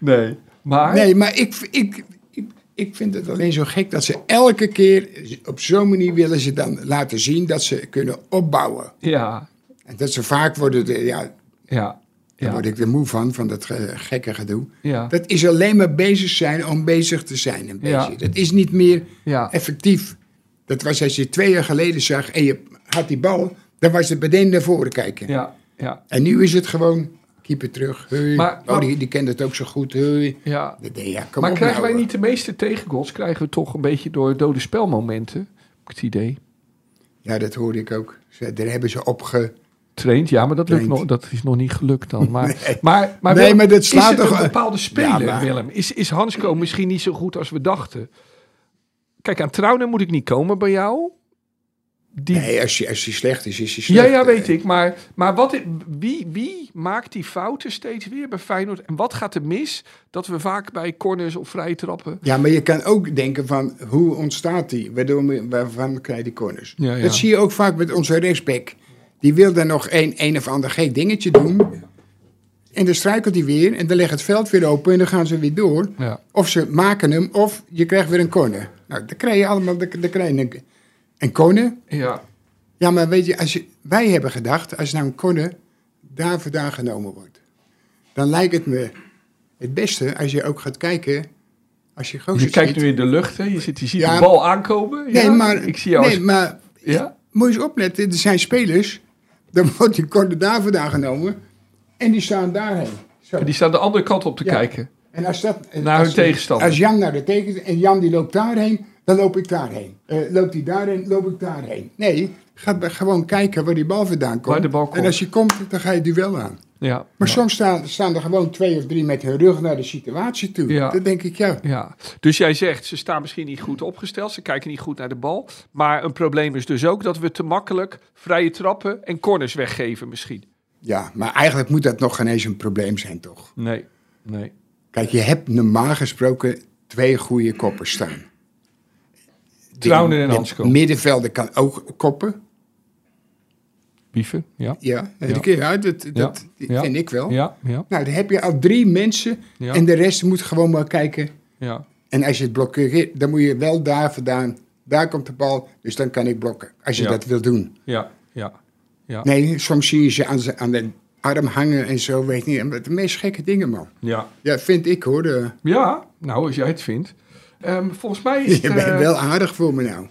Speaker 4: Nee. Maar
Speaker 5: Nee, maar ik, ik, ik, ik vind het alleen zo gek dat ze elke keer op zo'n manier willen ze dan laten zien dat ze kunnen opbouwen.
Speaker 4: ja,
Speaker 5: En dat ze vaak worden, de- ja, daar
Speaker 4: ja, ja,
Speaker 5: word ik er moe van, van dat eh, gekke gedoe.
Speaker 4: ja,
Speaker 5: Dat is alleen maar bezig zijn om bezig te zijn een beetje.
Speaker 4: Ja.
Speaker 5: Dat is niet meer
Speaker 4: ja,
Speaker 5: effectief. Dat was als je twee jaar geleden zag en je had die bal, dan was het meteen naar voren kijken.
Speaker 4: ja, ja,
Speaker 5: En nu is het gewoon keeper terug. Hey.
Speaker 4: Maar-
Speaker 5: oh, die, die kent het ook zo goed. Hey.
Speaker 4: Ja.
Speaker 5: Dat deed- ja, kom
Speaker 4: maar
Speaker 5: op
Speaker 4: krijgen
Speaker 5: nou,
Speaker 4: wij
Speaker 5: hoor.
Speaker 4: niet de meeste tegengoals? Krijgen we toch een beetje door dode spelmomenten? Heb ik het idee.
Speaker 5: Ja, dat hoorde ik ook. Ze- Daar hebben ze op ge...
Speaker 4: Traint, ja, maar dat, lukt
Speaker 5: Traint.
Speaker 4: nog, dat is nog niet gelukt dan. Maar,
Speaker 5: Nee.
Speaker 4: maar, maar,
Speaker 5: Nee,
Speaker 4: Willem,
Speaker 5: maar dat slaat
Speaker 4: is het
Speaker 5: toch-
Speaker 4: een bepaalde speler,
Speaker 5: Ja, maar-
Speaker 4: Willem? Is, is Hansco misschien niet zo goed als we dachten? Kijk, aan Trouwner moet ik niet komen bij jou. Die,
Speaker 5: Nee, als hij als die slecht is, is hij
Speaker 4: ja,
Speaker 5: slecht.
Speaker 4: ja, weet
Speaker 5: Eh,
Speaker 4: ik. Maar, maar wat, i- wie, wie maakt die fouten steeds weer bij Feyenoord? En wat gaat er mis dat we vaak bij corners of vrije trappen...
Speaker 5: Ja, maar je kan ook denken van hoe ontstaat die? Waardoor, we- waarvan krijg je die corners?
Speaker 4: Ja, ja.
Speaker 5: Dat zie je ook vaak met onze rechtsback. Die wil dan nog een, een of ander gek dingetje doen. En dan struikelt hij weer en dan legt het veld weer open en dan gaan ze weer door.
Speaker 4: Ja.
Speaker 5: Of ze maken hem of je krijgt weer een corner. Nou, dan krijg je allemaal dan, dan krijg je een, een corner.
Speaker 4: Ja,
Speaker 5: Ja, maar weet je, als je, wij hebben gedacht, als nou een corner daar vandaan genomen wordt, dan lijkt het me het beste als je ook gaat kijken, als je gozer
Speaker 4: je kijkt
Speaker 5: Oh, ziet.
Speaker 4: nu in de lucht, hè? Je, zit, je ziet
Speaker 5: Ja.
Speaker 4: de bal aankomen.
Speaker 5: Nee,
Speaker 4: Ja,
Speaker 5: maar,
Speaker 4: Ik zie jou
Speaker 5: nee,
Speaker 4: als-
Speaker 5: maar
Speaker 4: Ja?
Speaker 5: moet je eens opletten, er zijn spelers, dan wordt die corner daar vandaan genomen en die staan daarheen. Zo.
Speaker 4: En die staan de andere kant op te
Speaker 5: Ja.
Speaker 4: kijken.
Speaker 5: En als dat,
Speaker 4: Naar
Speaker 5: als
Speaker 4: hun
Speaker 5: die-
Speaker 4: tegenstander.
Speaker 5: Als Jan naar de tegenstander en Jan die loopt daarheen, dan loop ik daarheen. Eh, loopt hij daarheen, loop ik daarheen. Nee, ga b- gewoon kijken waar die bal vandaan komt.
Speaker 4: Waar de bal komt.
Speaker 5: En als je komt, dan ga je duel aan.
Speaker 4: Ja.
Speaker 5: Maar
Speaker 4: ja.
Speaker 5: soms staan, staan er gewoon twee of drie met hun rug naar de situatie toe.
Speaker 4: Ja.
Speaker 5: Dan denk ik, ja,
Speaker 4: Ja, dus jij zegt ze staan misschien niet goed opgesteld, ze kijken niet goed naar de bal. Maar een probleem is dus ook dat we te makkelijk vrije trappen en corners weggeven misschien.
Speaker 5: ja, maar eigenlijk moet dat nog geen eens een probleem zijn, toch?
Speaker 4: Nee, nee.
Speaker 5: Kijk, je hebt normaal gesproken twee goede koppers staan.
Speaker 4: Trauner en
Speaker 5: De- de
Speaker 4: Hansko.
Speaker 5: Middenvelder kan ook koppen.
Speaker 4: Bieven, ja.
Speaker 5: Ja,
Speaker 4: Ja.
Speaker 5: ja. ja dat, dat
Speaker 4: Ja.
Speaker 5: vind ik wel.
Speaker 4: Ja, ja,
Speaker 5: Nou, dan heb je al drie mensen
Speaker 4: Ja.
Speaker 5: en de rest moet gewoon maar kijken.
Speaker 4: ja.
Speaker 5: En als je het blokkeert, dan moet je wel daar vandaan. Daar komt de bal, dus dan kan ik blokken. Als je
Speaker 4: Ja.
Speaker 5: dat wil doen.
Speaker 4: Ja, ja. Ja,
Speaker 5: Nee, soms zie je ze aan, ze- aan de arm hangen en zo, weet ik niet. De meest gekke dingen, man.
Speaker 4: ja.
Speaker 5: Ja, vind ik hoor. De-
Speaker 4: ja nou als jij het vindt. Ehm, volgens mij is
Speaker 5: je
Speaker 4: het...
Speaker 5: bent
Speaker 4: eh,
Speaker 5: wel aardig voor me nou.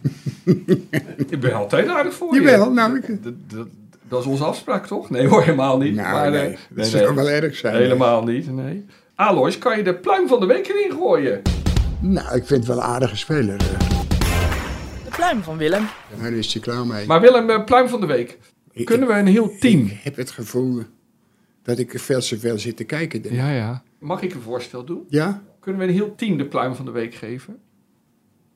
Speaker 4: Ik ben altijd aardig voor je.
Speaker 5: Jawel, nou, ik,
Speaker 4: Dat, dat, dat is onze afspraak toch? Nee hoor, helemaal niet.
Speaker 5: nou
Speaker 4: maar, eh,
Speaker 5: nee,
Speaker 4: nee,
Speaker 5: dat
Speaker 4: nee.
Speaker 5: zou wel erg zijn.
Speaker 4: Helemaal niet, nee. Alois, kan je de pluim van de week erin gooien?
Speaker 5: Nou, ik vind het wel een aardige speler. eh.
Speaker 6: De pluim van Willem.
Speaker 5: Nou, daar is hij klaar mee.
Speaker 4: Maar Willem, eh, pluim van de week. Kunnen we een heel team?
Speaker 5: Ik heb het gevoel dat ik veel te veel zit te kijken. denk ik.
Speaker 4: Ja, ja. Mag ik een voorstel doen?
Speaker 5: Ja?
Speaker 4: Kunnen we een heel team de pluim van de week geven?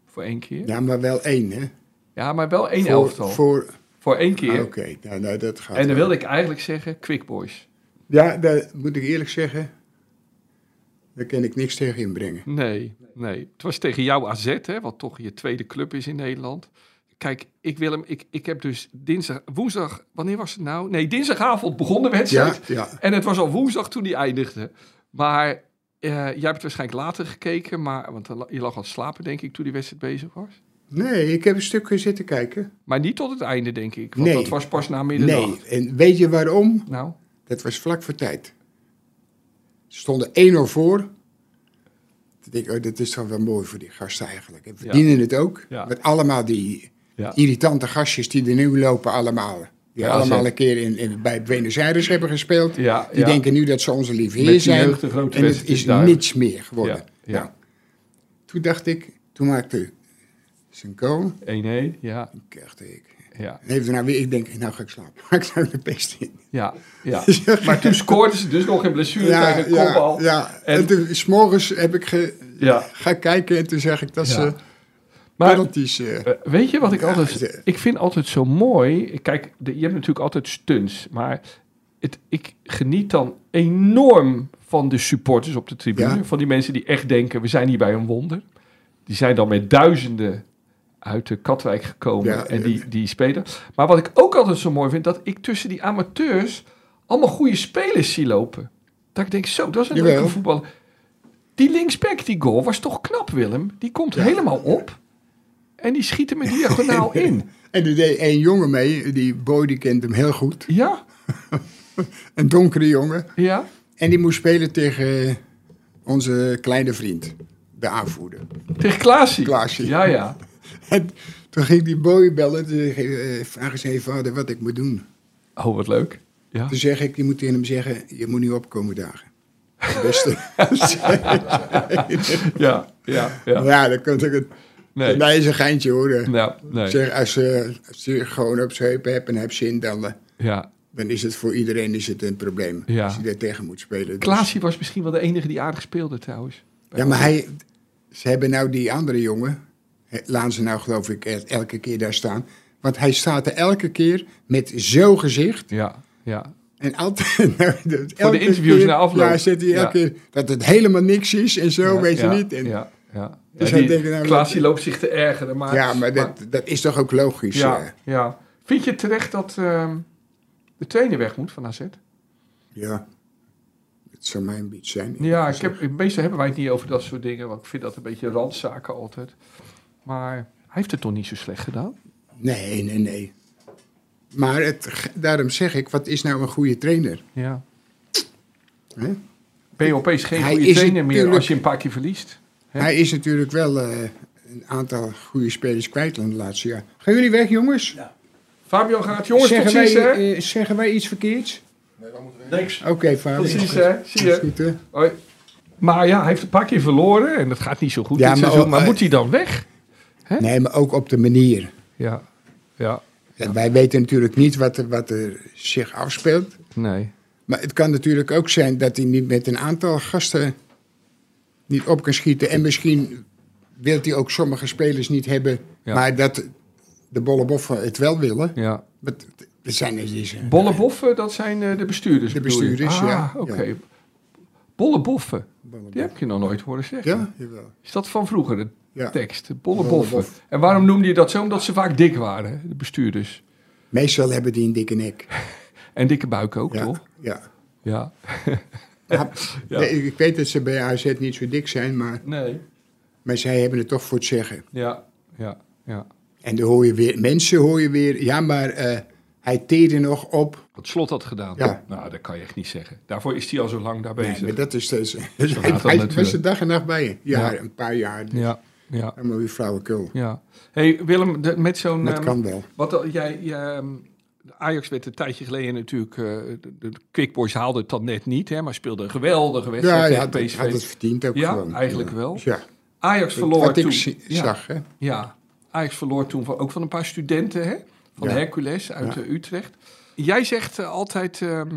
Speaker 4: Voor één keer? Ja,
Speaker 5: Ja, maar wel één, hè?
Speaker 4: maar wel één
Speaker 5: voor,
Speaker 4: elftal. Voor,
Speaker 5: Voor,
Speaker 4: één
Speaker 5: ah,
Speaker 4: keer.
Speaker 5: Oké, nou, nou, dat gaat.
Speaker 4: En dan
Speaker 5: wel.
Speaker 4: wilde ik eigenlijk zeggen, Quick Boys.
Speaker 5: Ja, dat moet ik eerlijk zeggen. Daar kan ik niks tegen inbrengen.
Speaker 4: Nee, nee. Het was tegen jouw AZ, hè, wat toch je tweede club is in Nederland. Kijk, ik wil hem. Ik, ik heb dus dinsdag, woensdag, wanneer was het nou? Nee, dinsdagavond begon de
Speaker 5: Ja,
Speaker 4: wedstrijd.
Speaker 5: ja.
Speaker 4: En het was al woensdag toen die eindigde. Maar eh, jij hebt waarschijnlijk later gekeken, maar, want dan la- je lag aan het slapen, denk ik, toen die wedstrijd bezig was.
Speaker 5: Nee, ik heb een stukje zitten kijken.
Speaker 4: Maar niet tot het einde, denk ik. Want
Speaker 5: Nee.
Speaker 4: dat was pas na middernacht.
Speaker 5: Nee, en weet je waarom?
Speaker 4: Nou,
Speaker 5: Dat was vlak voor tijd. Ze stonden 1-0 voor. Toen denk ik, oh, dat is toch wel mooi voor die gasten eigenlijk. En verdienen het ook.
Speaker 4: Ja.
Speaker 5: Met allemaal die
Speaker 4: Ja.
Speaker 5: irritante gastjes die er nu lopen allemaal. Die
Speaker 4: Ja,
Speaker 5: allemaal
Speaker 4: zeker.
Speaker 5: een keer in, in- bij Buenos Aires hebben gespeeld.
Speaker 4: ja.
Speaker 5: Die
Speaker 4: ja.
Speaker 5: denken nu dat ze onze lieve
Speaker 4: Met
Speaker 5: heer
Speaker 4: die
Speaker 5: zijn.
Speaker 4: jeugd een grote
Speaker 5: en het
Speaker 4: wedstrijd
Speaker 5: is
Speaker 4: is duidelijk.
Speaker 5: niets meer geworden.
Speaker 4: Ja, ja.
Speaker 5: Nou, toen dacht ik, toen maakte zijn goal.
Speaker 4: 1-1, ja,
Speaker 5: Toen dacht ik,
Speaker 4: ja,
Speaker 5: even nou weer, ik denk, nou ga ik slapen. Maar ik zou de pest in.
Speaker 4: ja, ja. Maar toen scoorden ze dus nog in blessure tegen een
Speaker 5: ja,
Speaker 4: kopbal.
Speaker 5: ja. En,
Speaker 4: En-
Speaker 5: toen, s'morgens heb ik ge,
Speaker 4: Ja.
Speaker 5: ga kijken en toen zeg ik dat
Speaker 4: Ja.
Speaker 5: ze
Speaker 4: Maar
Speaker 5: penalties... eh,
Speaker 4: Eh, Weet je wat ik
Speaker 5: Ja,
Speaker 4: altijd...
Speaker 5: ze-
Speaker 4: Ik vind altijd zo mooi... Kijk, de- je hebt natuurlijk altijd stunts. Maar het, ik geniet dan enorm van de supporters op de tribune.
Speaker 5: Ja.
Speaker 4: Van die mensen die echt denken... we zijn hier bij een wonder. Die zijn dan met duizenden uit de Katwijk gekomen.
Speaker 5: Ja,
Speaker 4: en
Speaker 5: eh.
Speaker 4: die, die spelen. Maar wat ik ook altijd zo mooi vind... dat ik tussen die amateurs... allemaal goede spelers zie lopen. Dat ik denk, zo, dat is een
Speaker 5: Jawel.
Speaker 4: leuke voetballer. Die linksback, die goal, was toch knap, Willem? Die komt helemaal op... En die schieten me diagonaal in.
Speaker 5: en er deed één jongen mee, die boy die kent hem heel goed.
Speaker 4: Ja,
Speaker 5: Een donkere jongen.
Speaker 4: ja.
Speaker 5: En die moest spelen tegen onze kleine vriend, de aanvoerder.
Speaker 4: Tegen Klaasie.
Speaker 5: Klaasie.
Speaker 4: Ja, ja.
Speaker 5: En toen ging die boy bellen, toen ging, eh, vragen ze even vader wat ik moet doen.
Speaker 4: Oh, wat leuk. Ja.
Speaker 5: Toen zeg ik, die moet tegen hem zeggen, je moet niet opkomen dagen. Het Beste.
Speaker 4: Ja, ja, ja.
Speaker 5: ja, dat kan natuurlijk.
Speaker 4: Nee.
Speaker 5: Mij is een geintje hoor.
Speaker 4: Nou, nee.
Speaker 5: Zeg, als, je, als je gewoon op z'n heupen hebt en hebt zin, dan, eh,
Speaker 4: Ja.
Speaker 5: dan is het voor iedereen is het een probleem.
Speaker 4: Ja.
Speaker 5: Als je daar tegen moet spelen. Dus-
Speaker 4: Klaasie was misschien wel de enige die aardig speelde trouwens.
Speaker 5: Ja, maar hij, ze hebben nou die andere jongen, hè, laten ze nou geloof ik el- elke keer daar staan. Want hij staat er elke keer met zo'n gezicht.
Speaker 4: Ja, ja.
Speaker 5: En altijd, nou, dat
Speaker 4: Voor de
Speaker 5: elke
Speaker 4: interviews
Speaker 5: keer-
Speaker 4: na afloop.
Speaker 5: Ja, zit hij elke
Speaker 4: Ja.
Speaker 5: keer dat het helemaal niks is en zo,
Speaker 4: Ja,
Speaker 5: weet je
Speaker 4: ja,
Speaker 5: niet. En, ja.
Speaker 4: ja, ja.
Speaker 5: Dus
Speaker 4: Ja,
Speaker 5: hij
Speaker 4: die-
Speaker 5: denkt, nou,
Speaker 4: Klaasie
Speaker 5: dat-
Speaker 4: loopt zich te ergeren. Maar,
Speaker 5: maar dat, dat is toch ook logisch. eh.
Speaker 4: ja, ja. Vind je terecht dat ehm, de trainer weg moet van AZ?
Speaker 5: Ja, het zou mijn beat zijn.
Speaker 4: Ja, ik heb, meestal hebben wij het niet over dat soort dingen. Want ik vind dat een beetje randzaken altijd. Maar hij heeft het toch niet zo slecht gedaan?
Speaker 5: Nee, nee, nee. Maar het, daarom zeg ik, wat is nou een goede trainer?
Speaker 4: Ja.
Speaker 5: Hè?
Speaker 4: Ben je opeens geen
Speaker 5: Hij
Speaker 4: goede
Speaker 5: is
Speaker 4: trainer meer
Speaker 5: natuurlijk-
Speaker 4: als je een paar keer verliest? Hè?
Speaker 5: Hij is natuurlijk wel eh, een aantal goede spelers kwijt in de laatste jaar. Gaan jullie weg, jongens?
Speaker 4: Fabio gaat, jongens,
Speaker 5: zeggen,
Speaker 4: tot ziens
Speaker 5: wij,
Speaker 4: hè?
Speaker 5: eh, zeggen wij iets verkeerds?
Speaker 4: Niks.
Speaker 5: Oké, Fabio.
Speaker 4: Tot ziens hè? Zie je.
Speaker 5: Goed, hè?
Speaker 4: Hoi. Maar ja, hij heeft een paar keer verloren en dat gaat niet zo goed
Speaker 5: Ja,
Speaker 4: dit
Speaker 5: maar
Speaker 4: seizoen.
Speaker 5: ook-
Speaker 4: Maar eh- moet hij dan weg?
Speaker 5: Nee, maar ook op de manier.
Speaker 4: Ja, ja,
Speaker 5: En Wij weten natuurlijk niet wat er, wat er zich afspeelt.
Speaker 4: nee.
Speaker 5: Maar het kan natuurlijk ook zijn dat hij niet met een aantal gasten niet op kan schieten. En misschien wil hij ook sommige spelers niet hebben,
Speaker 4: Ja.
Speaker 5: maar dat de bolleboffen het wel willen.
Speaker 4: Ja.
Speaker 5: Dat, dat zijn er die zijn.
Speaker 4: Bolleboffen, dat zijn eh, de bestuurders.
Speaker 5: De
Speaker 4: bedoel je?
Speaker 5: bestuurders, ja,
Speaker 4: Ah, oké.
Speaker 5: ja.
Speaker 4: Bolleboffen,
Speaker 5: Bolleboffen.
Speaker 4: die heb ik je nog nooit horen zeggen.
Speaker 5: Ja, jawel.
Speaker 4: Is dat van vroeger, de
Speaker 5: Ja.
Speaker 4: tekst? Bolleboffen.
Speaker 5: Bolleboffen.
Speaker 4: En waarom noemde je dat zo? Omdat ze vaak dik waren, de bestuurders.
Speaker 5: Meestal hebben die een dikke nek.
Speaker 4: En dikke buik ook,
Speaker 5: Ja,
Speaker 4: toch?
Speaker 5: ja.
Speaker 4: Ja.
Speaker 5: Maar-
Speaker 4: Ja.
Speaker 5: Nee, ik weet dat ze bij AZ niet zo dik zijn, maar,
Speaker 4: Nee.
Speaker 5: maar zij hebben het toch voor het zeggen.
Speaker 4: Ja, ja, ja.
Speaker 5: En dan hoor je weer, mensen hoor je weer, ja maar eh, hij teerde nog op.
Speaker 4: Wat slot had gedaan.
Speaker 5: Ja.
Speaker 4: Nou, dat kan je echt niet zeggen. Daarvoor is hij al zo lang daar
Speaker 5: Nee,
Speaker 4: bezig.
Speaker 5: maar dat is steeds.
Speaker 4: dat
Speaker 5: hij hij was er
Speaker 4: natuurlijk.
Speaker 5: dag en nacht bij je. Ja,
Speaker 4: Ja.
Speaker 5: een paar jaar.
Speaker 4: Ja, ja,
Speaker 5: Helemaal weer flauwekul.
Speaker 4: ja. hey, Willem, de- met zo'n...
Speaker 5: Dat
Speaker 4: ehm,
Speaker 5: kan wel.
Speaker 4: Wat al- jij, jij, ehm, Ajax werd een tijdje geleden natuurlijk... eh, de, de Quick Boys haalde het dan net niet, hè, maar speelde een geweldige
Speaker 5: Ja,
Speaker 4: wedstrijd
Speaker 5: ja
Speaker 4: tegen
Speaker 5: had,
Speaker 4: PSV.
Speaker 5: had het verdiend ook
Speaker 4: Ja,
Speaker 5: gewoon.
Speaker 4: eigenlijk wel.
Speaker 5: Ja,
Speaker 4: Ajax verloor
Speaker 5: wat
Speaker 4: toen...
Speaker 5: ik zi-
Speaker 4: ja,
Speaker 5: zag. Hè?
Speaker 4: ja, Ajax verloor toen van, ook van een paar studenten, hè? Van
Speaker 5: Ja.
Speaker 4: Hercules uit
Speaker 5: Ja.
Speaker 4: eh, Utrecht. Jij zegt eh, altijd... ehm,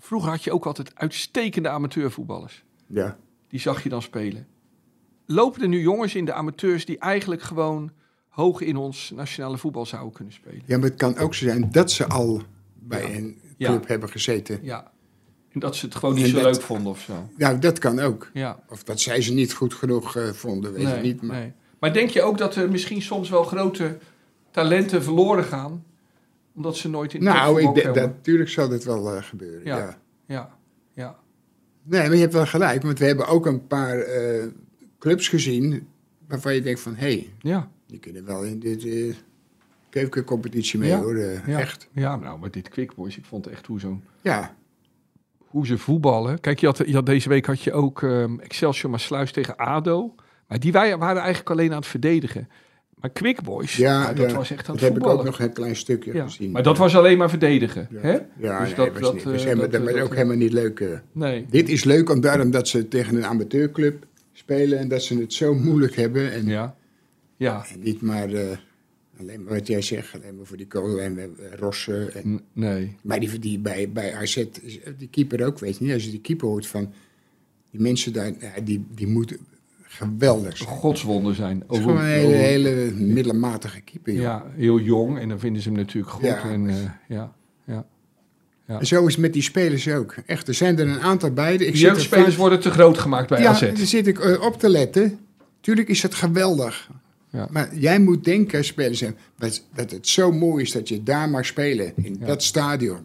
Speaker 4: vroeger had je ook altijd uitstekende amateurvoetballers.
Speaker 5: Ja.
Speaker 4: die zag je dan spelen. Lopen er nu jongens in de amateurs die eigenlijk gewoon hoog in ons nationale voetbal zouden kunnen spelen?
Speaker 5: ja, maar het kan ook zo zijn dat ze al bij een
Speaker 4: Ja.
Speaker 5: club hebben gezeten.
Speaker 4: Ja. En dat ze het gewoon niet
Speaker 5: En
Speaker 4: zo
Speaker 5: dat-
Speaker 4: leuk vonden of zo.
Speaker 5: Nou, dat kan ook.
Speaker 4: Ja.
Speaker 5: Of dat zij ze niet goed genoeg eh, vonden, weet
Speaker 4: nee,
Speaker 5: ik niet. Maar
Speaker 4: nee. maar denk je ook dat er misschien soms wel grote talenten verloren gaan? Omdat ze nooit in de
Speaker 5: Nou, ik
Speaker 4: topvoetbal
Speaker 5: denk, dat,
Speaker 4: komen?
Speaker 5: natuurlijk zal dit wel eh, gebeuren.
Speaker 4: Ja.
Speaker 5: Ja.
Speaker 4: Ja, ja,
Speaker 5: Nee, maar je hebt wel gelijk. Want we hebben ook een paar eh, clubs gezien waarvan je denkt van... hé, hey,
Speaker 4: ja.
Speaker 5: die kunnen wel in dit eh keukencompetitie mee,
Speaker 4: Ja.
Speaker 5: hoor. eh,
Speaker 4: ja.
Speaker 5: Echt.
Speaker 4: Ja, nou, met dit Quick Boys, ik vond het echt hoe zo'n
Speaker 5: Ja.
Speaker 4: hoe ze voetballen. Kijk, je had, je had, deze week had je ook ehm Excelsior Maasluis tegen ADO. Maar die wij, waren eigenlijk alleen aan het verdedigen. Maar Quick Boys,
Speaker 5: Ja,
Speaker 4: nou, dat
Speaker 5: ja.
Speaker 4: was echt aan
Speaker 5: Dat
Speaker 4: het
Speaker 5: heb ik
Speaker 4: voetballen.
Speaker 5: ook nog een klein stukje
Speaker 4: Ja,
Speaker 5: gezien.
Speaker 4: Maar dat was alleen maar verdedigen.
Speaker 5: Ja.
Speaker 4: Hè?
Speaker 5: Ja,
Speaker 4: Dus dat-
Speaker 5: nee, dat,
Speaker 4: dat,
Speaker 5: was niet.
Speaker 4: eh,
Speaker 5: Dus helemaal-
Speaker 4: dat,
Speaker 5: dat,
Speaker 4: eh,
Speaker 5: was
Speaker 4: dat,
Speaker 5: ook
Speaker 4: eh,
Speaker 5: helemaal niet leuk. eh.
Speaker 4: Nee,
Speaker 5: Dit is leuk om- daarom dat ze tegen een amateurclub spelen en dat ze het zo moeilijk hebben. En,
Speaker 4: ja. Ja,
Speaker 5: en niet maar, eh, alleen maar wat jij zegt, alleen maar voor die kolen en eh, Rossen. En,
Speaker 4: N- nee.
Speaker 5: Maar die, die bij, bij AZ, is eh, die keeper ook, weet je niet. Als je die keeper hoort van die mensen daar, ja, die, die moeten geweldig zijn.
Speaker 4: Godswonden zijn.
Speaker 5: Het is gewoon een hele,
Speaker 4: oh.
Speaker 5: hele middelmatige keeper. joh.
Speaker 4: Ja, heel jong en dan vinden ze hem natuurlijk goed.
Speaker 5: Ja.
Speaker 4: En, eh, ja. Ja.
Speaker 5: En zo is het met die spelers ook. Echt, er zijn er een aantal bij. Ik zit er
Speaker 4: Jeugdspelers
Speaker 5: vaak-
Speaker 4: worden te groot gemaakt bij
Speaker 5: ja,
Speaker 4: AZ.
Speaker 5: daar zit ik eh, op te letten. Tuurlijk is dat geweldig.
Speaker 4: Ja.
Speaker 5: Maar jij moet denken als speler zijn, dat, dat het zo mooi is dat je daar mag spelen, in dat stadion.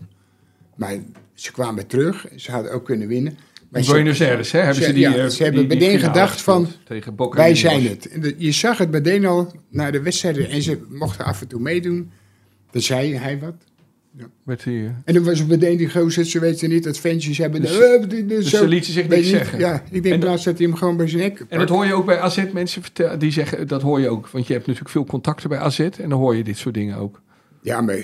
Speaker 5: Maar ze kwamen terug, ze hadden ook kunnen winnen. Maar ze-
Speaker 4: Buenos Aires, hè? Hebben
Speaker 5: ze-
Speaker 4: ze die,
Speaker 5: ja,
Speaker 4: eh,
Speaker 5: ze hebben
Speaker 4: die- die
Speaker 5: meteen
Speaker 4: finale
Speaker 5: gedacht van,
Speaker 4: gespeeld tegen Boca
Speaker 5: wij
Speaker 4: Juniors.
Speaker 5: zijn het. En dat- Je zag het meteen al naar de wedstrijden en ze mochten af en toe meedoen. Dan zei hij wat.
Speaker 4: Met die, eh,
Speaker 5: En dan was het meteen die gozer, ze weten niet dat fans hebben.
Speaker 4: Dus-
Speaker 5: eh, dit- dit- zo.
Speaker 4: ze lieten zich
Speaker 5: Weet
Speaker 4: niks
Speaker 5: je niet?
Speaker 4: zeggen.
Speaker 5: Ja, ik denk
Speaker 4: En dat-
Speaker 5: laatst dat hij hem gewoon bij zijn nek
Speaker 4: En dat
Speaker 5: pakt.
Speaker 4: hoor je ook bij AZ mensen vertellen. Die zeggen, dat hoor je ook. Want je hebt natuurlijk veel contacten bij AZ. En dan hoor je dit soort dingen ook.
Speaker 5: Ja, maar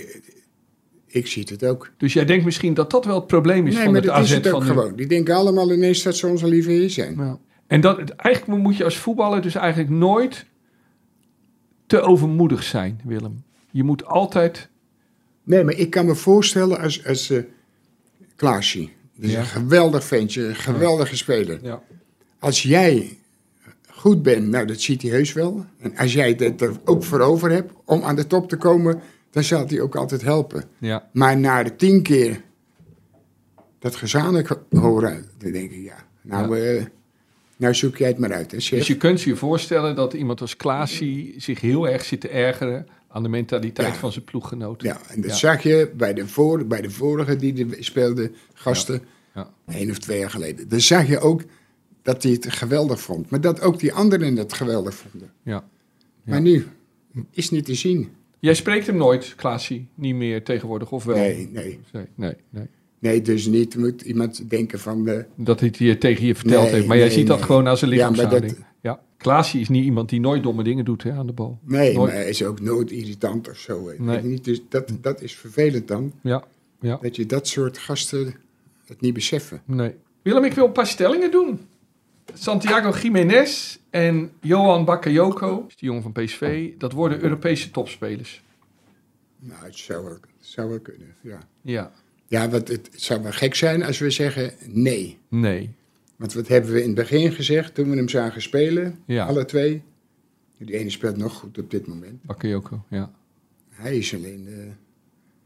Speaker 5: Ik zie het ook.
Speaker 4: Dus jij denkt misschien dat dat wel het probleem is
Speaker 5: Nee,
Speaker 4: van
Speaker 5: maar
Speaker 4: het
Speaker 5: dat
Speaker 4: AZ
Speaker 5: is het ook
Speaker 4: van nu.
Speaker 5: gewoon. Die denken allemaal ineens dat ze onze lieve heer zijn.
Speaker 4: Ja. En dat, eigenlijk moet je als voetballer dus eigenlijk nooit te overmoedig zijn, Willem. Je moet altijd...
Speaker 5: Nee, maar ik kan me voorstellen als, als eh, Klaasje. Die is
Speaker 4: Ja.
Speaker 5: een geweldig ventje, een geweldige speler.
Speaker 4: Ja.
Speaker 5: Als jij goed bent, nou dat ziet hij heus wel. En als jij dat er ook voor over hebt om aan de top te komen, dan zal hij ook altijd helpen.
Speaker 4: Ja.
Speaker 5: Maar na de tien keer dat gezamenlijk horen, dan denk ik, ja, nou, eh, nou zoek jij het maar uit. Hè, chef.
Speaker 4: Dus je kunt je voorstellen dat iemand als Klaasie zich heel erg zit te ergeren aan de mentaliteit
Speaker 5: Ja.
Speaker 4: van zijn ploeggenoten.
Speaker 5: Ja, en dat
Speaker 4: Ja.
Speaker 5: zag je bij de, voor, bij de vorige die er speelden, gasten,
Speaker 4: Ja.
Speaker 5: één of twee jaar geleden. Dan zag je ook dat hij het geweldig vond. Maar dat ook die anderen het geweldig vonden.
Speaker 4: Ja.
Speaker 5: Maar nu is niet te zien.
Speaker 4: Jij spreekt hem nooit, Klaasie, niet meer tegenwoordig, of wel?
Speaker 5: Nee, nee.
Speaker 4: Nee, nee, nee.
Speaker 5: Nee, dus niet moet iemand denken van... eh, De,
Speaker 4: Dat hij het je tegen je verteld
Speaker 5: Nee,
Speaker 4: heeft. Maar jij
Speaker 5: nee,
Speaker 4: ziet dat
Speaker 5: nee.
Speaker 4: gewoon als een
Speaker 5: Ja, maar dat-
Speaker 4: lichaamshouding. Ja, Klaasie is niet iemand die nooit domme dingen doet hè, aan de bal.
Speaker 5: nee,
Speaker 4: Nooit.
Speaker 5: maar hij is ook nooit irritant of zo. hè.
Speaker 4: Nee.
Speaker 5: Weet je Niet, dus dat, dat is vervelend dan.
Speaker 4: Ja, ja.
Speaker 5: Dat je dat soort gasten het niet beseffen.
Speaker 4: Nee. Willem, ik wil een paar stellingen doen. Santiago Jiménez en Johan Bakayoko, die jongen van PSV, dat worden Europese topspelers.
Speaker 5: Nou, het zou wel, het zou wel kunnen, ja.
Speaker 4: Ja.
Speaker 5: Ja, want het zou wel gek zijn als we zeggen nee.
Speaker 4: Nee.
Speaker 5: Want wat hebben we in het begin gezegd toen we hem zagen spelen?
Speaker 4: Ja.
Speaker 5: Alle twee. Die ene speelt nog goed op dit moment.
Speaker 4: Bakayoko, ja.
Speaker 5: Hij is alleen eh,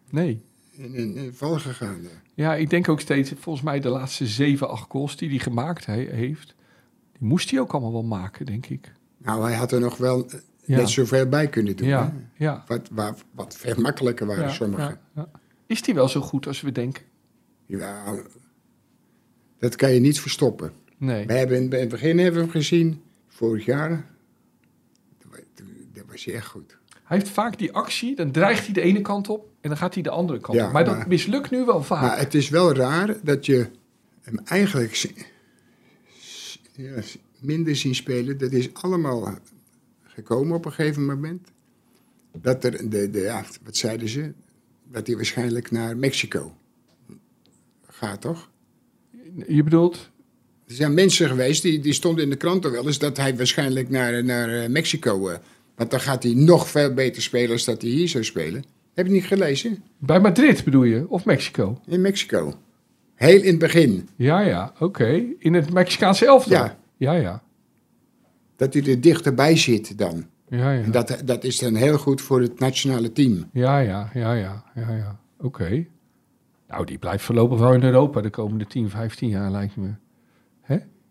Speaker 4: Nee.
Speaker 5: in een in val gegaan. eh.
Speaker 4: Ja, ik denk ook steeds, volgens mij de laatste 7, 8 goals die hij gemaakt he- heeft, die moest hij ook allemaal wel maken, denk ik.
Speaker 5: Nou, hij had er nog wel eh,
Speaker 4: Ja.
Speaker 5: net zoveel bij kunnen doen.
Speaker 4: Ja,
Speaker 5: hè?
Speaker 4: ja.
Speaker 5: Wat, waar, wat veel makkelijker waren
Speaker 4: ja,
Speaker 5: sommigen.
Speaker 4: ja, ja. Is die wel zo goed als we denken?
Speaker 5: Ja. dat kan je niet verstoppen.
Speaker 4: Nee.
Speaker 5: We hebben in, in het begin hebben we hem gezien, vorig jaar. Toen wa- toen- Dat was hij echt goed.
Speaker 4: Hij heeft vaak die actie, dan dreigt hij de ene kant op en dan gaat hij de andere kant
Speaker 5: Ja,
Speaker 4: op. Maar dat
Speaker 5: maar-
Speaker 4: mislukt nu wel vaak.
Speaker 5: Maar het is wel raar dat je hem eigenlijk z- z- ja, z- minder zien spelen. Dat is allemaal gekomen op een gegeven moment. Dat er, de, de, ja, wat zeiden ze? Dat hij waarschijnlijk naar Mexico gaat, toch?
Speaker 4: Je bedoelt,
Speaker 5: Er zijn mensen geweest, die, die stonden in de krant al wel eens... dat hij waarschijnlijk naar, naar eh, Mexico... eh, want dan gaat hij nog veel beter spelen als dat hij hier zou spelen. Heb je niet gelezen?
Speaker 4: Bij Madrid bedoel je? Of Mexico?
Speaker 5: In Mexico. Heel in het begin.
Speaker 4: Ja, ja, oké. In het Mexicaanse elftal?
Speaker 5: Ja.
Speaker 4: Ja, ja.
Speaker 5: Dat hij er dichterbij zit dan.
Speaker 4: Ja, ja.
Speaker 5: En dat, dat is dan heel goed voor het nationale team.
Speaker 4: Ja, ja, ja, ja, ja, ja. Oké. Nou, die blijft voorlopig wel in Europa de komende 10, 15 jaar, lijkt me.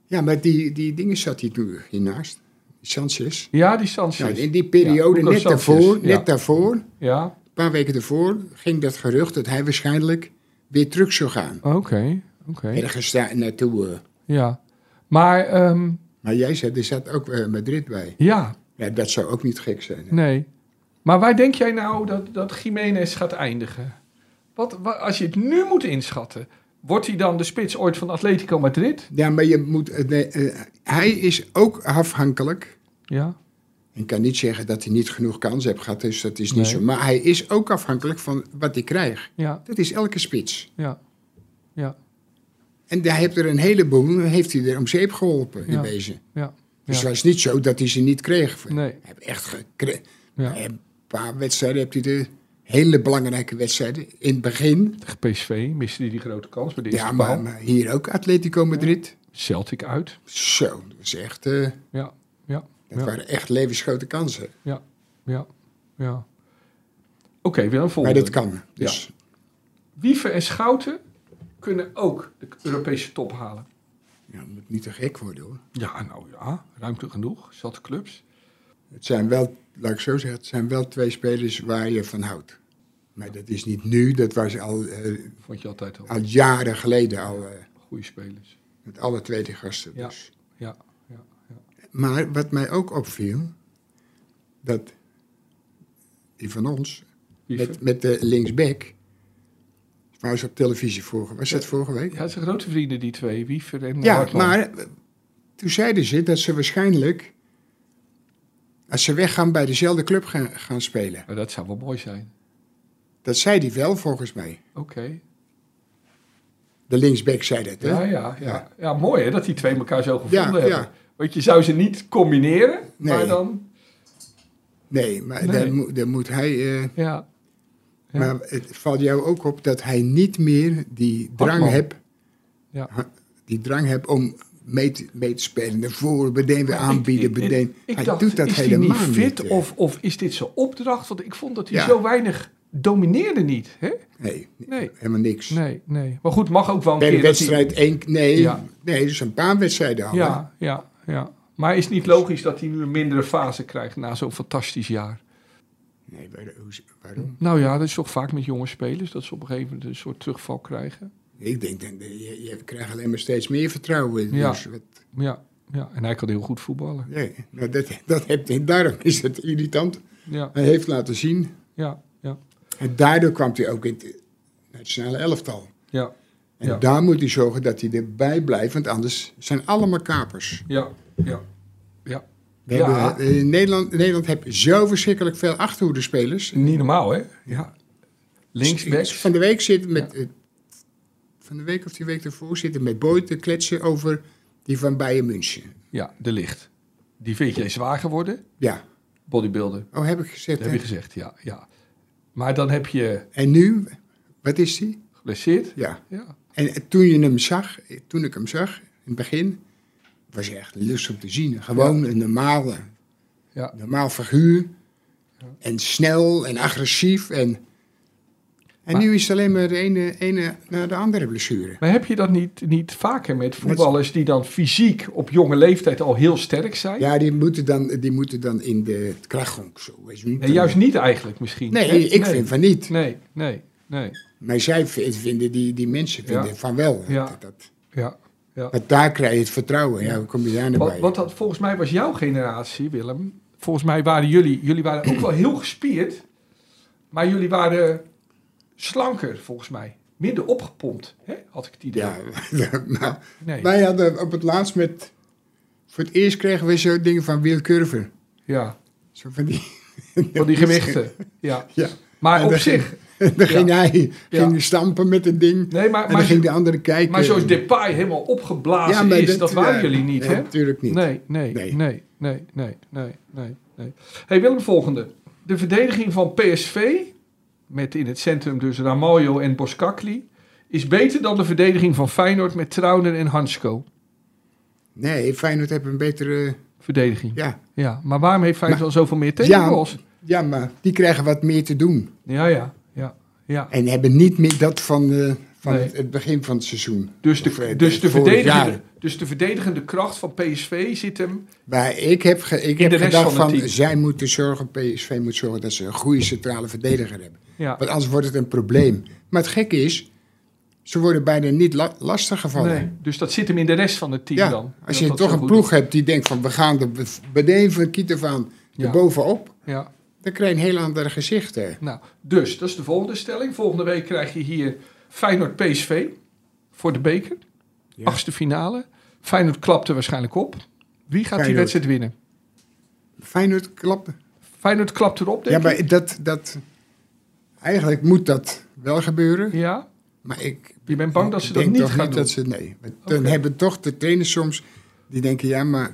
Speaker 5: Ja, maar die, die dingen zat hij toen hiernaast. Sanchez.
Speaker 4: Ja, die Sanchez.
Speaker 5: Nou, in die periode,
Speaker 4: Ja, Hugo
Speaker 5: net,
Speaker 4: Sanchez,
Speaker 5: daarvoor,
Speaker 4: ja.
Speaker 5: net daarvoor, een
Speaker 4: Ja,
Speaker 5: paar weken daarvoor, ging dat gerucht dat hij waarschijnlijk weer terug zou gaan.
Speaker 4: oké, oké.
Speaker 5: Ergens daar naartoe. eh.
Speaker 4: Ja. Maar, ehm,
Speaker 5: Maar jij zei, er zat ook eh, Madrid bij.
Speaker 4: ja,
Speaker 5: Ja, dat zou ook niet gek zijn. hè.
Speaker 4: nee. Maar waar denk jij nou dat, dat Jiménez gaat eindigen? Wat, wa- als je het nu moet inschatten, wordt hij dan de spits ooit van Atletico Madrid?
Speaker 5: Ja, maar je moet, eh, nee, eh, hij is ook afhankelijk.
Speaker 4: Ja.
Speaker 5: Ik kan niet zeggen dat hij niet genoeg kans heeft gehad, dus dat is niet
Speaker 4: Nee.
Speaker 5: zo. Maar hij is ook afhankelijk van wat hij krijgt.
Speaker 4: Ja,
Speaker 5: Dat is elke spits.
Speaker 4: ja, ja.
Speaker 5: En daar heeft er een heleboel, heeft hij er om zeep geholpen
Speaker 4: Ja.
Speaker 5: in wezen.
Speaker 4: Ja.
Speaker 5: Dus
Speaker 4: Ja.
Speaker 5: het was niet zo dat hij ze niet kreeg.
Speaker 4: Nee.
Speaker 5: Hij heeft echt gekregen.
Speaker 4: Ja.
Speaker 5: Een paar wedstrijden heeft hij de hele belangrijke wedstrijden. In het begin,
Speaker 4: Tegen PSV miste hij die grote kans bij de eerste
Speaker 5: ja,
Speaker 4: bal.
Speaker 5: maar, maar hier ook Atletico Madrid.
Speaker 4: Celtic uit.
Speaker 5: Zo, dat, was echt, eh,
Speaker 4: Ja, ja,
Speaker 5: dat
Speaker 4: Ja.
Speaker 5: waren echt levensgrote kansen.
Speaker 4: ja, ja. Oké, Willem,
Speaker 5: Maar
Speaker 4: volgende.
Speaker 5: dat kan. Dus
Speaker 4: Wiever en Schouten kunnen ook de Europese top halen.
Speaker 5: ja. het moet niet te gek worden hoor.
Speaker 4: Ja, nou ja, ruimte genoeg. Zat clubs.
Speaker 5: Het zijn wel, laat ik zo zeggen, het zijn wel twee spelers waar je van houdt. Maar dat is niet nu, dat was al, eh,
Speaker 4: Vond je altijd al
Speaker 5: al jaren geleden al... eh,
Speaker 4: goede spelers.
Speaker 5: Met alle twee die gasten
Speaker 4: Ja.
Speaker 5: dus.
Speaker 4: Ja, ja,
Speaker 5: Maar wat mij ook opviel, dat die van ons,
Speaker 4: Wiever.
Speaker 5: met, met de linksback, waar ze op televisie vorige was dat vorige week?
Speaker 4: Ja, het zijn grote vrienden die twee, Wiever en
Speaker 5: Ja,
Speaker 4: Hartman.
Speaker 5: maar eh, toen zeiden ze dat ze waarschijnlijk, als ze weggaan, bij dezelfde club gaan, gaan spelen.
Speaker 4: Maar dat zou wel mooi zijn.
Speaker 5: Dat zei hij wel, volgens mij.
Speaker 4: Oké.
Speaker 5: De linksback zei dat, hè?
Speaker 4: Ja, ja, ja. ja, mooi hè, dat die twee elkaar zo gevonden
Speaker 5: Ja,
Speaker 4: hebben.
Speaker 5: ja.
Speaker 4: Want je zou ze niet combineren,
Speaker 5: Nee.
Speaker 4: maar dan...
Speaker 5: Nee, maar
Speaker 4: Nee.
Speaker 5: Dan, moet, dan moet hij... eh,
Speaker 4: Ja, Ja.
Speaker 5: Maar het valt jou ook op dat hij niet meer die drang
Speaker 4: Hartman.
Speaker 5: hebt...
Speaker 4: Ja.
Speaker 5: ha- Die drang hebt om mee te, mee te spelen. Naar voren, meteen weer aanbieden,
Speaker 4: Ik- ik-
Speaker 5: meteen...
Speaker 4: ik
Speaker 5: Hij
Speaker 4: dacht,
Speaker 5: doet dat
Speaker 4: is die
Speaker 5: helemaal eh,
Speaker 4: niet fit
Speaker 5: hè.
Speaker 4: of, of is dit zijn opdracht? Want ik vond dat hij
Speaker 5: Ja.
Speaker 4: zo weinig domineerde niet. Hè?
Speaker 5: Nee,
Speaker 4: Nee.
Speaker 5: helemaal niks.
Speaker 4: Nee, nee. Maar goed, mag ook wel een
Speaker 5: Bij
Speaker 4: keer
Speaker 5: een
Speaker 4: dat hij-
Speaker 5: wedstrijd één... Nee,
Speaker 4: Ja.
Speaker 5: nee, dus een paar wedstrijden al. hè?
Speaker 4: Ja, ja, ja. Maar is het niet logisch dat hij nu een mindere fase krijgt na zo'n fantastisch jaar?
Speaker 5: Nee, waar- hoe- waarom?
Speaker 4: Nou ja, dat is toch vaak met jonge spelers dat ze op een gegeven moment een soort terugval krijgen.
Speaker 5: Ik denk, dat je, je krijgt alleen maar steeds meer vertrouwen.
Speaker 4: Ja.
Speaker 5: Dus wat,
Speaker 4: Ja, ja. en hij kan heel goed voetballen.
Speaker 5: nee, nou, dat, dat heeft, daarom is het irritant.
Speaker 4: Ja,
Speaker 5: Hij heeft laten zien.
Speaker 4: ja, ja.
Speaker 5: En daardoor kwam hij ook in het nationale elftal.
Speaker 4: ja.
Speaker 5: En
Speaker 4: Ja.
Speaker 5: daar moet hij zorgen dat hij erbij blijft, want anders zijn allemaal kapers.
Speaker 4: Ja, ja.
Speaker 5: We
Speaker 4: Ja.
Speaker 5: hebben, eh, in Nederland, Nederland heeft zo verschrikkelijk veel achterhoedenspelers.
Speaker 4: Niet normaal, hè? Ja. Linksbacks.
Speaker 5: Van de week zit met. eh, van de week of die week ervoor zitten met Boy te kletsen over die van Bayern München.
Speaker 4: Ja, de licht. Die vind je zwaar geworden.
Speaker 5: Ja,
Speaker 4: Bodybuilder.
Speaker 5: oh heb ik gezegd.
Speaker 4: Dat heb
Speaker 5: hè?
Speaker 4: je gezegd, ja, ja. Maar dan heb je
Speaker 5: En nu, wat is die?
Speaker 4: geblesseerd.
Speaker 5: Ja.
Speaker 4: Ja.
Speaker 5: En toen je hem zag, toen ik hem zag in het begin, was hij echt lust om te zien. Gewoon een normale,
Speaker 4: Ja.
Speaker 5: normaal figuur. En snel en agressief. En, en
Speaker 4: Maar-
Speaker 5: nu is het alleen maar de ene, ene naar de andere blessure.
Speaker 4: Maar heb je dat niet, niet vaker met voetballers die dan fysiek op jonge leeftijd al heel sterk zijn?
Speaker 5: Ja, die moeten dan, die moeten dan in de krachtonk. Zo, weet je niet.
Speaker 4: Nee, juist niet eigenlijk misschien.
Speaker 5: Nee,
Speaker 4: hè?
Speaker 5: ik vind van niet.
Speaker 4: Nee, nee, nee.
Speaker 5: Maar zij v- vinden, die, die mensen vinden
Speaker 4: Ja.
Speaker 5: van wel.
Speaker 4: Ja.
Speaker 5: Dat, dat,
Speaker 4: Ja, ja.
Speaker 5: want daar krijg je het vertrouwen. Ja, hoe kom je daar naar
Speaker 4: Want,
Speaker 5: bij?
Speaker 4: want dat, volgens mij was jouw generatie, Willem. Volgens mij waren jullie, jullie waren ook wel heel gespierd. Maar jullie waren slanker, volgens mij. Minder opgepompt, hè? had ik het idee.
Speaker 5: Ja, maar
Speaker 4: nee.
Speaker 5: Wij hadden op het laatst met... Voor het eerst kregen we zo'n ding van Wiel Curver.
Speaker 4: ja.
Speaker 5: Zo van die...
Speaker 4: Van die gewichten. Ja.
Speaker 5: Ja.
Speaker 4: Maar
Speaker 5: En
Speaker 4: op
Speaker 5: dan-
Speaker 4: zich.
Speaker 5: En dan ging hij ging
Speaker 4: Ja.
Speaker 5: hij stampen met het ding.
Speaker 4: Nee, maar,
Speaker 5: en dan
Speaker 4: maar,
Speaker 5: ging de andere kijken.
Speaker 4: maar zoals Depay helemaal opgeblazen
Speaker 5: eh, Ja, maar
Speaker 4: is, dat,
Speaker 5: dat-
Speaker 4: waren
Speaker 5: ja,
Speaker 4: jullie niet,
Speaker 5: nee,
Speaker 4: hè?
Speaker 5: natuurlijk niet.
Speaker 4: Nee, nee, nee,
Speaker 5: Nee.
Speaker 4: nee, nee, nee, nee, nee. hey, Willem, volgende. De verdediging van PSV, met in het centrum dus Ramaljo en Boskakli, is beter dan de verdediging van Feyenoord met Trauner en Hansko.
Speaker 5: Nee, Feyenoord heeft een betere...
Speaker 4: Verdediging. Ja,
Speaker 5: Ja,
Speaker 4: maar waarom heeft Feyenoord dan zoveel meer tegengoals?
Speaker 5: ja, maar die krijgen wat meer te doen.
Speaker 4: Ja, ja, ja, ja.
Speaker 5: En hebben niet meer dat van, eh, van
Speaker 4: Nee.
Speaker 5: het, het begin van het seizoen.
Speaker 4: Dus
Speaker 5: Of, eh,
Speaker 4: de, dus, de
Speaker 5: vorig
Speaker 4: verdedigende,
Speaker 5: jaar.
Speaker 4: dus de verdedigende kracht van PSV zit hem.
Speaker 5: Maar ik heb, ge- ik
Speaker 4: de
Speaker 5: heb
Speaker 4: rest
Speaker 5: gedacht
Speaker 4: van het
Speaker 5: van,
Speaker 4: team.
Speaker 5: zij moeten zorgen, PSV moet zorgen dat ze een goede centrale verdediger hebben.
Speaker 4: Ja.
Speaker 5: Want anders wordt het een probleem. Maar het gekke is, ze worden bijna niet la lastig gevallen.
Speaker 4: Nee, dus dat zit hem in de rest van het team
Speaker 5: ja,
Speaker 4: dan.
Speaker 5: als
Speaker 4: Dat
Speaker 5: je
Speaker 4: dat
Speaker 5: toch
Speaker 4: zo
Speaker 5: een
Speaker 4: goed
Speaker 5: ploeg hebt die denkt van we gaan de be- beneden van Kietefaan
Speaker 4: Ja.
Speaker 5: bovenop,
Speaker 4: is. Ja,
Speaker 5: dan krijg je een heel ander gezicht. Hè.
Speaker 4: nou, dus dat is de volgende stelling. Volgende week krijg je hier Feyenoord PSV voor de beker. Achtste finale. Feyenoord klapt er waarschijnlijk op. Wie gaat die
Speaker 5: Feyenoord.
Speaker 4: wedstrijd winnen?
Speaker 5: Feyenoord klappen.
Speaker 4: Feyenoord klapt erop, denk
Speaker 5: Ja, maar
Speaker 4: ik.
Speaker 5: dat, dat, eigenlijk moet dat wel gebeuren.
Speaker 4: Ja,
Speaker 5: Maar ik
Speaker 4: je bent bang dat ze dat
Speaker 5: denk
Speaker 4: niet
Speaker 5: toch
Speaker 4: gaan
Speaker 5: niet
Speaker 4: doen.
Speaker 5: dat ze, nee. Want Dan
Speaker 4: Oké.
Speaker 5: hebben toch de trainers soms, die denken ja, maar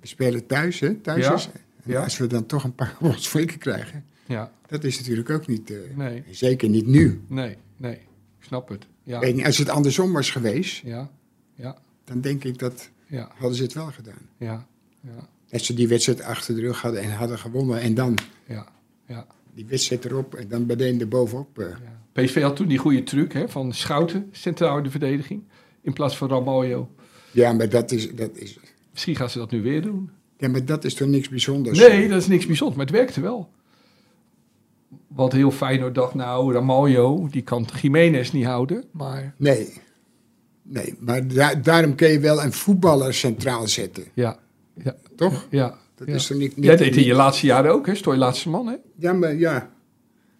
Speaker 5: we spelen thuis, hè, thuis
Speaker 4: Ja,
Speaker 5: is. En
Speaker 4: ja.
Speaker 5: als we dan toch een paar ons flikken krijgen,
Speaker 4: Ja,
Speaker 5: dat is natuurlijk ook niet, eh,
Speaker 4: nee,
Speaker 5: zeker niet nu.
Speaker 4: nee, nee. Ik snap het. Ja,
Speaker 5: Weet niet, als het andersom was geweest,
Speaker 4: ja, ja,
Speaker 5: dan denk ik dat
Speaker 4: ja,
Speaker 5: hadden ze het wel gedaan.
Speaker 4: ja, ja,
Speaker 5: Dat ze die wedstrijd achter de rug hadden en hadden gewonnen. En dan
Speaker 4: ja. ja.
Speaker 5: die wedstrijd erop en dan meteen erbovenop. eh.
Speaker 4: Ja. PSV had toen die goede truc hè, van Schouten, centraal in de verdediging. In plaats van Ramaljo.
Speaker 5: Ja, maar dat is, dat is,
Speaker 4: Misschien gaan ze dat nu weer doen.
Speaker 5: ja, maar dat is toch niks bijzonders?
Speaker 4: Nee, dat is niks bijzonders, maar het werkte wel. Want heel Feyenoord dacht, nou, Ramaljo, die kan Jiménez niet houden. Maar
Speaker 5: Nee. Nee, maar da- daarom kun je wel een voetballer centraal zetten,
Speaker 4: ja, ja,
Speaker 5: toch?
Speaker 4: ja.
Speaker 5: Dat
Speaker 4: ja.
Speaker 5: is toch niet... niet
Speaker 4: Jij deed in je laatste jaren ook, hè? Stoy laatste man, hè?
Speaker 5: Ja, maar ja.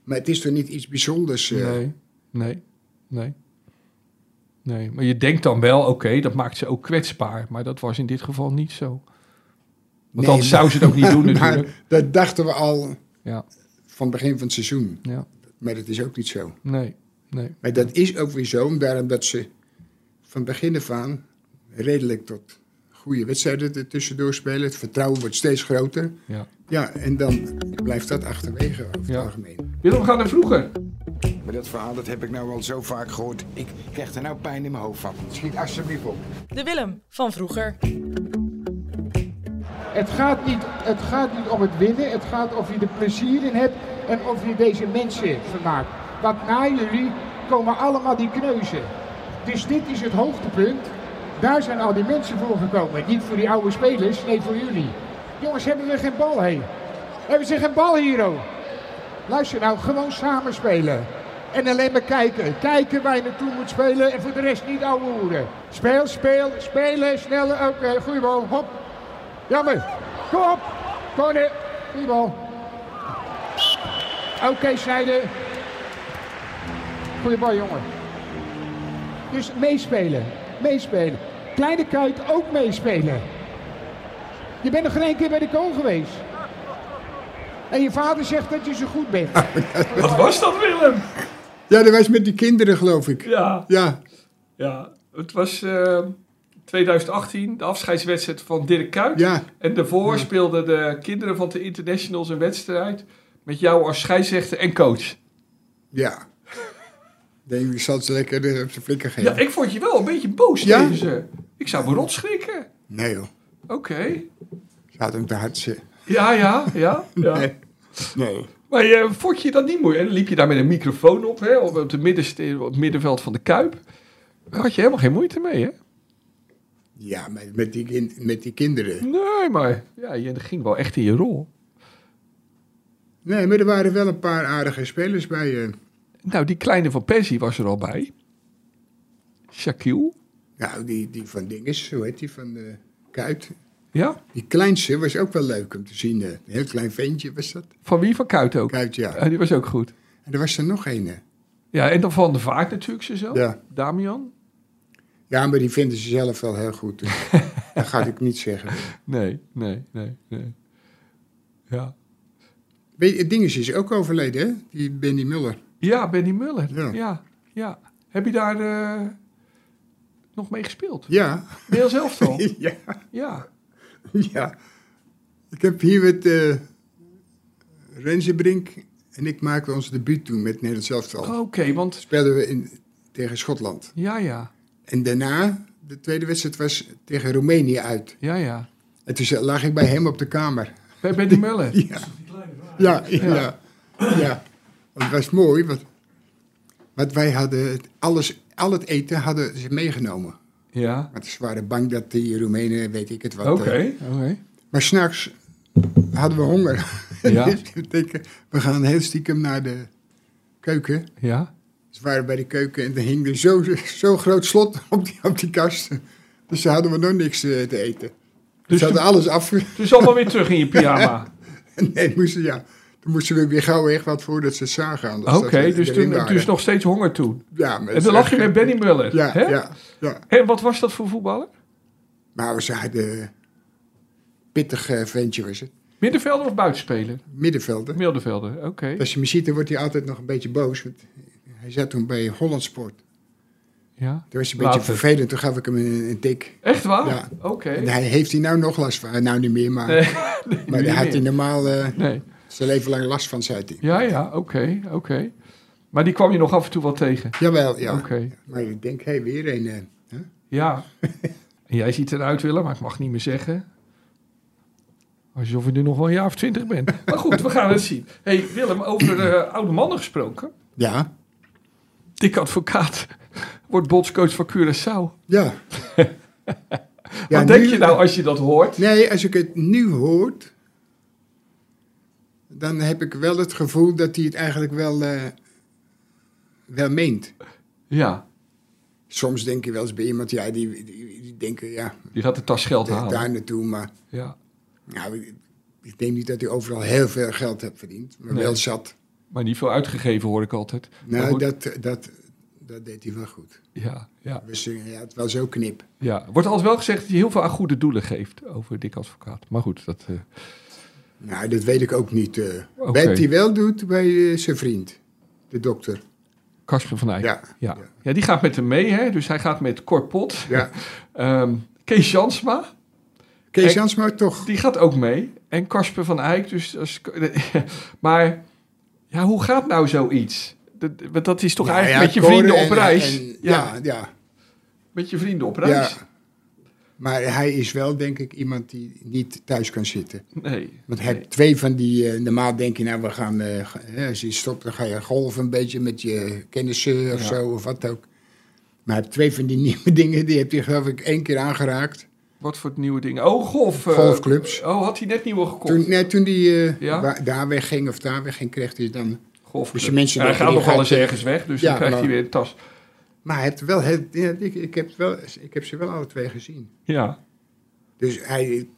Speaker 5: Maar het is toch niet iets bijzonders? eh?
Speaker 4: Nee, nee, nee. Nee, maar je denkt dan wel, oké, dat maakt ze ook kwetsbaar. Maar dat was in dit geval niet zo. Want
Speaker 5: Nee,
Speaker 4: anders zou ze het ook niet doen
Speaker 5: maar-
Speaker 4: natuurlijk.
Speaker 5: maar dat dachten we al
Speaker 4: Ja,
Speaker 5: van het begin van het seizoen.
Speaker 4: ja.
Speaker 5: Maar dat is ook niet zo.
Speaker 4: Nee, nee.
Speaker 5: Maar dat is ook weer zo, daarom dat ze van begin af aan redelijk tot goede wedstrijden er tussendoor spelen. Het vertrouwen wordt steeds groter.
Speaker 4: Ja.
Speaker 5: Ja, en dan blijft dat achterwege over
Speaker 4: Ja.
Speaker 5: het algemeen.
Speaker 4: Willem, we gaan naar vroeger.
Speaker 1: Maar dat verhaal dat heb ik nou al zo vaak gehoord. Ik krijg er nou pijn in mijn hoofd van.
Speaker 5: Schiet alsjeblieft op.
Speaker 6: De Willem van vroeger.
Speaker 8: Het gaat, niet, het gaat niet om het winnen, het gaat of je er plezier in hebt en of je deze mensen vermaakt. Want na jullie komen allemaal die kneuzen. Dus dit is het hoogtepunt. Daar zijn al die mensen voor gekomen. Niet voor die oude spelers, nee voor jullie. Jongens, hebben we geen bal heen? Hebben ze geen bal hier, oh? Luister nou, gewoon samen spelen. En alleen maar kijken. Kijken waar je naartoe moet spelen en voor de rest niet ouwe hoeren. Speel, speel, spelen, sneller. Oké, goeie bal, hop. Jammer. Kom op. Corner. Goeie bal. Oké, Snijder. Goeie bal, jongen. Dus meespelen. Meespelen. Kleine kuit ook meespelen. Je bent nog geen één keer bij de kool geweest. En je vader zegt dat je zo goed bent.
Speaker 4: Wat was dat, Willem?
Speaker 5: Ja, dat was met die kinderen, geloof ik.
Speaker 4: Ja,
Speaker 5: Ja,
Speaker 4: ja. Het was eh, 2018, de afscheidswedstrijd van Dirk Kuyt.
Speaker 5: ja.
Speaker 4: En daarvoor speelden de kinderen van de internationals een wedstrijd met jou als scheidsrechter en coach.
Speaker 5: Ja. Ik Denk, ik zal ze lekker eh, op zijn flikker
Speaker 4: Ja,
Speaker 5: geven.
Speaker 4: ik vond je wel een beetje boos
Speaker 5: Ja?
Speaker 4: tegen ze. Ik zou me rot schrikken.
Speaker 5: Nee joh,
Speaker 4: Oké.
Speaker 5: ze had hem te hard ze-
Speaker 4: Ja, ja, ja. ja.
Speaker 5: Nee. Nee.
Speaker 4: Maar eh, vond je dat niet moeilijk? En dan liep je daar met een microfoon op, hè, op, op, de middenste- op het middenveld van de Kuip. Daar had je helemaal geen moeite mee, hè?
Speaker 5: Ja, met, met, die, kin- met die kinderen.
Speaker 4: Nee, maar ja, je ging wel echt in je rol.
Speaker 5: Nee, maar er waren wel een paar aardige spelers bij. eh.
Speaker 4: Nou, die kleine van Persie was er al bij. Shaquille.
Speaker 5: nou, die, die van Dinges, hoe heet die, van eh Kuit.
Speaker 4: Ja,
Speaker 5: Die kleinste was ook wel leuk om te zien. eh. Een heel klein ventje was dat.
Speaker 4: van wie? Van Kuit ook.
Speaker 5: Kuit, ja.
Speaker 4: Ja, die was ook goed.
Speaker 5: En er was er nog een. eh.
Speaker 4: Ja, en dan Van de Vaart natuurlijk, zo.
Speaker 5: Ja.
Speaker 4: Damian?
Speaker 5: Ja, maar die vinden ze zelf wel heel goed. dus dat ga ik niet zeggen.
Speaker 4: Nee, nee, nee, nee. Ja.
Speaker 5: Weet je, Dinges is ook overleden, hè? Die Benny Muller.
Speaker 4: Ja, Benny Muller. Ja,
Speaker 5: Ja.
Speaker 4: ja. Heb je daar eh, nog mee gespeeld?
Speaker 5: Ja,
Speaker 4: Heel zelf al.
Speaker 5: ja,
Speaker 4: Ja.
Speaker 5: ja. Ik heb hier met eh Renzenbrink en ik maakten ons debuut toen met het Nederlands elftal.
Speaker 4: Oh, Oké, want...
Speaker 5: Speelden we in, tegen Schotland.
Speaker 4: Ja, ja.
Speaker 5: En daarna, de tweede wedstrijd was tegen Roemenië uit.
Speaker 4: Ja, ja.
Speaker 5: En toen lag ik bij hem op de kamer.
Speaker 4: Bij Benny Muller.
Speaker 5: Ja. Ja, ja, ja. Want het was mooi, want, want wij hadden het- alles, al het eten hadden ze meegenomen.
Speaker 4: Ja.
Speaker 5: Want ze waren bang dat die Roemenen, weet ik het wat.
Speaker 4: Oké,
Speaker 5: eh,
Speaker 4: oké.
Speaker 5: maar s'nachts hadden we honger.
Speaker 4: Ja.
Speaker 5: Dus we denken, we gaan heel stiekem naar de keuken.
Speaker 4: Ja.
Speaker 5: Ze waren bij de keuken en er hing er zo- zo'n groot slot op die, op die kast. Dus ze hadden we nog niks eh, te eten.
Speaker 4: Dus
Speaker 5: ze hadden
Speaker 4: toen-
Speaker 5: alles af.
Speaker 4: Dus allemaal weer terug in je pyjama.
Speaker 5: Nee, moesten, ja. Toen moesten we weer gauw echt wat voor dat ze het zagen. anders
Speaker 4: Oké,
Speaker 5: dat eh, we
Speaker 4: dus
Speaker 5: erin
Speaker 4: toen
Speaker 5: waren.
Speaker 4: dus nog steeds honger toen.
Speaker 5: Ja, maar
Speaker 4: En dan lag je met Benny Muller.
Speaker 5: Ja,
Speaker 4: hè?
Speaker 5: ja, ja.
Speaker 4: En wat was dat voor voetballer?
Speaker 5: Maar we zeiden... eh, Pittig eh, ventje was het.
Speaker 4: Middenvelder of buitenspeler?
Speaker 5: Middenvelder.
Speaker 4: Middenvelder, oké.
Speaker 5: Als je me ziet, dan wordt hij altijd nog een beetje boos. Want hij zat toen bij Holland Sport.
Speaker 4: Ja.
Speaker 5: Toen was hij een beetje
Speaker 4: Later.
Speaker 5: vervelend. Toen gaf ik hem een, een tik.
Speaker 4: Echt waar?
Speaker 5: Ja.
Speaker 4: Oké.
Speaker 5: En hij heeft hij nou nog last van. Nou, niet meer, maar...
Speaker 4: Nee,
Speaker 5: maar
Speaker 4: niet
Speaker 5: daar had
Speaker 4: meer.
Speaker 5: hij normaal eh,
Speaker 4: Nee.
Speaker 5: zijn leven lang last van, zei hij.
Speaker 4: Ja, ja, oké, oké. Maar die kwam je nog af en toe wel tegen.
Speaker 5: Jawel, ja.
Speaker 4: Oké.
Speaker 5: Maar ik denk, hé, weer een... eh, hè?
Speaker 4: Ja. En jij ziet eruit, Willem, maar ik mag niet meer zeggen. Alsof je nu nog wel een jaar of twintig bent. Maar goed, we gaan het zien. hey, Willem, over eh, oude mannen gesproken.
Speaker 5: Ja,
Speaker 4: Dick Advocaat wordt bondscoach van Curaçao.
Speaker 5: ja. Ja,
Speaker 4: Wat denk
Speaker 5: nu-
Speaker 4: je nou als je dat hoort?
Speaker 5: Nee, als ik het nu hoor, dan heb ik wel het gevoel dat hij het eigenlijk wel, eh, wel meent.
Speaker 4: Ja,
Speaker 5: Soms denk je wel eens bij iemand, ja, die, die, die denken, ja,
Speaker 4: die gaat de tas geld
Speaker 5: daar
Speaker 4: halen.
Speaker 5: daar naartoe. Maar
Speaker 4: Ja.
Speaker 5: nou, ik, ik denk niet dat hij overal heel veel geld heeft verdiend, maar
Speaker 4: Nee.
Speaker 5: wel zat.
Speaker 4: Maar niet veel uitgegeven, hoor ik altijd. Maar
Speaker 5: Nou,
Speaker 4: goed,
Speaker 5: dat, dat, dat deed hij wel goed.
Speaker 4: Ja, ja,
Speaker 5: We zingen, ja, het was zo knip.
Speaker 4: ja. Er wordt altijd wel gezegd dat hij heel veel aan goede doelen geeft over Dick Advocaat. Maar goed, dat... eh,
Speaker 5: Nou, dat weet ik ook niet. eh
Speaker 4: Oké.
Speaker 5: Wat hij wel doet bij eh, zijn vriend. de dokter.
Speaker 4: Kasper van Eyck.
Speaker 5: Ja.
Speaker 4: Ja. ja, die gaat met hem mee, hè? dus hij gaat met Korpot.
Speaker 5: Ja.
Speaker 4: Ehm, Kees Jansma,
Speaker 5: Kees
Speaker 4: Kijk.
Speaker 5: Jansma toch?
Speaker 4: die gaat ook mee. En Kasper van Eyck, dus... Als, maar ja, hoe gaat nou zoiets? Dat, want dat is toch
Speaker 5: Ja,
Speaker 4: eigenlijk
Speaker 5: ja,
Speaker 4: met je
Speaker 5: Koren
Speaker 4: vrienden
Speaker 5: en-
Speaker 4: op reis?
Speaker 5: en-
Speaker 4: ja,
Speaker 5: ja, ja.
Speaker 4: met je vrienden op
Speaker 5: Ja.
Speaker 4: reis.
Speaker 5: Maar hij is wel, denk ik, iemand die niet thuis kan zitten.
Speaker 4: Nee.
Speaker 5: Want hij
Speaker 4: Nee.
Speaker 5: heeft twee van die... eh, normaal denk je, nou, we gaan... eh, ga- hè, als je stopt, dan ga je golven een beetje met je kennissen of
Speaker 4: Ja.
Speaker 5: zo, of wat ook. Maar hij heeft twee van die nieuwe dingen, die heeft hij geloof ik één keer aangeraakt.
Speaker 4: Wat voor nieuwe dingen? Oh, golf. eh,
Speaker 5: Golfclubs.
Speaker 4: Oh, had hij net nieuwe gekocht?
Speaker 5: Toen, nee, toen die eh,
Speaker 4: Ja?
Speaker 5: waar- daar weg ging of daar weg ging, kreeg hij dan...
Speaker 4: golf.
Speaker 5: dus die mensen
Speaker 4: hij
Speaker 5: denken,
Speaker 4: gaat
Speaker 5: die
Speaker 4: nog wel eens
Speaker 5: gaat-
Speaker 4: ergens weg, dus
Speaker 5: Ja,
Speaker 4: dan krijgt
Speaker 5: maar-
Speaker 4: hij weer een tas.
Speaker 5: Maar hij heeft wel, het, ja, ik, ik, heb wel, ik heb ze wel alle twee gezien.
Speaker 4: Ja,
Speaker 5: Dus hij,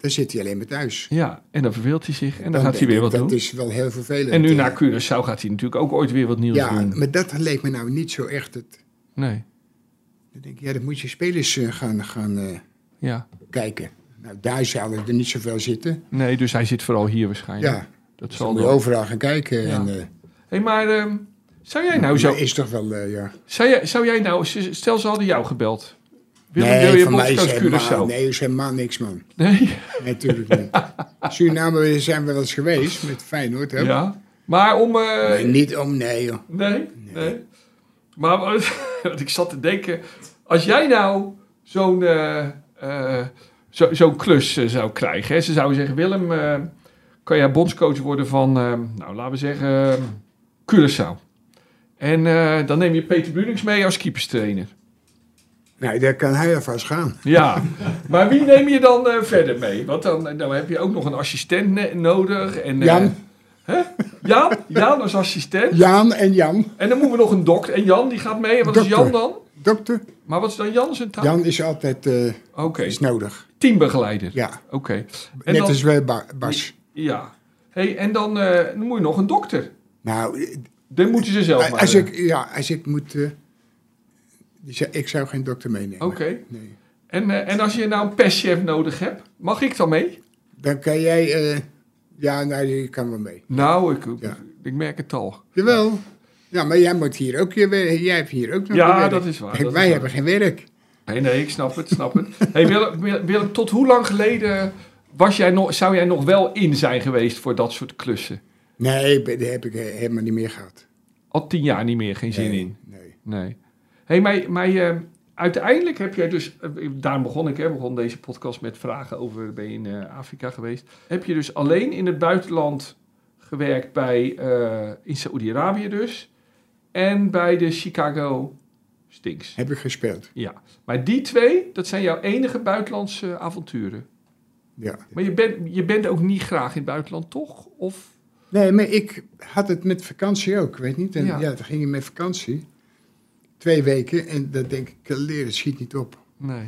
Speaker 5: daar zit hij alleen maar thuis.
Speaker 4: ja, en dan verveelt hij zich en dan, gaat hij weer wat
Speaker 5: dat
Speaker 4: doen.
Speaker 5: Dat is wel heel vervelend.
Speaker 4: En nu
Speaker 5: ja.
Speaker 4: naar Curaçao gaat hij natuurlijk ook ooit weer wat nieuws
Speaker 5: Ja,
Speaker 4: doen.
Speaker 5: maar dat leek me nou niet zo echt. Het,
Speaker 4: Nee,
Speaker 5: dan denk ik, ja, dat moet je spelers eh, gaan, gaan eh,
Speaker 4: ja.
Speaker 5: kijken. Nou, daar zouden er niet zoveel zitten.
Speaker 4: Nee, dus hij zit vooral hier
Speaker 5: Ja,
Speaker 4: waarschijnlijk. dat
Speaker 5: dus
Speaker 4: zal
Speaker 5: dan moet je
Speaker 4: wel.
Speaker 5: overal gaan kijken.
Speaker 4: Ja.
Speaker 5: En, eh,
Speaker 4: hey, maar ehm, zou jij nou zo...
Speaker 5: maar is toch wel, eh, ja.
Speaker 4: Zou jij, zou jij nou... Stel, ze hadden jou gebeld. Willem, wil
Speaker 5: nee,
Speaker 4: je
Speaker 5: van mij is
Speaker 4: bondscoach
Speaker 5: helemaal,
Speaker 4: Curaçao?
Speaker 5: nee, is helemaal niks, man.
Speaker 4: Nee?
Speaker 5: Natuurlijk niet. Suriname zijn we wel eens geweest, met Feyenoord. Hè?
Speaker 4: Ja. Maar om... eh,
Speaker 5: Maar niet om, nee, joh.
Speaker 4: Nee, nee. Maar wat, want ik zat te denken, als jij nou zo'n eh, eh, zo, zo'n klus eh, zou krijgen, hè, ze zouden zeggen, Willem, eh, kan jij bondscoach worden van, eh, nou laten we zeggen, eh, Curaçao. En eh, dan neem je Peter Brunings mee als keeperstrainer.
Speaker 5: Nou, daar kan hij alvast gaan.
Speaker 4: Ja, maar wie neem je dan eh, verder mee? Want dan, eh, dan heb je ook nog een assistent ne- nodig. En, eh,
Speaker 5: Jan.
Speaker 4: Hè? Jan? Jan als assistent.
Speaker 5: Jaan en Jan,
Speaker 4: En dan moeten we nog een dokter. En Jan die gaat mee. En wat is
Speaker 5: Dokter.
Speaker 4: Jan dan?
Speaker 5: dokter.
Speaker 4: Maar wat is dan Jan zijn taal?
Speaker 5: Jan is altijd eh,
Speaker 4: Oké,
Speaker 5: is nodig.
Speaker 4: teambegeleider.
Speaker 5: Ja,
Speaker 4: Oké. En
Speaker 5: net
Speaker 4: dan,
Speaker 5: als bij Ba- Bas.
Speaker 4: Ja. Hey, en dan, eh, dan moet je nog een dokter.
Speaker 5: Nou, eh,
Speaker 4: Dat moeten ze zelf maar. eh.
Speaker 5: Als
Speaker 4: doen.
Speaker 5: ik, ja, als ik moet... eh, die zei, ik zou geen dokter meenemen.
Speaker 4: Oké.
Speaker 5: Nee.
Speaker 4: En, eh, en als je nou een perschef nodig hebt, mag ik dan mee?
Speaker 5: Dan kan jij... eh, ja, nou, je kan wel mee.
Speaker 4: Nou, ik,
Speaker 5: Ja.
Speaker 4: ik merk het al.
Speaker 5: Jawel. Ja, maar jij moet hier ook je werk. Jij hebt hier ook nog
Speaker 4: Ja,
Speaker 5: je werk.
Speaker 4: dat is waar,
Speaker 5: Kijk,
Speaker 4: dat
Speaker 5: wij
Speaker 4: is
Speaker 5: hebben geen werk.
Speaker 4: Nee, nee, ik snap het, snap het. Hey, Willem, Willem- Willem, tot hoe lang geleden was jij nog, zou jij nog wel in zijn geweest voor dat soort klussen?
Speaker 5: Nee, be- dat heb ik eh, helemaal niet meer gehad.
Speaker 4: Al tien jaar niet meer, geen zin
Speaker 5: Nee,
Speaker 4: in.
Speaker 5: Nee.
Speaker 4: Nee. hey, maar, maar je- uiteindelijk heb jij dus... eh, Daarom begon ik, hè, begon deze podcast met vragen over... Ben je in eh, Afrika geweest? Heb je dus alleen in het buitenland gewerkt bij... eh, in Saoedi-Arabië dus. En bij de Chicago Stinks.
Speaker 5: Heb ik gespeeld.
Speaker 4: Ja. Maar die twee, dat zijn jouw enige buitenlandse avonturen.
Speaker 5: Ja.
Speaker 4: Maar je, bent je bent ook niet graag in het buitenland, toch? Of...
Speaker 5: Nee, maar ik had het met vakantie ook, weet niet. En,
Speaker 4: Ja.
Speaker 5: ja. dan ging je met vakantie. Twee weken. En dan denk ik, leren schiet niet op.
Speaker 4: Nee.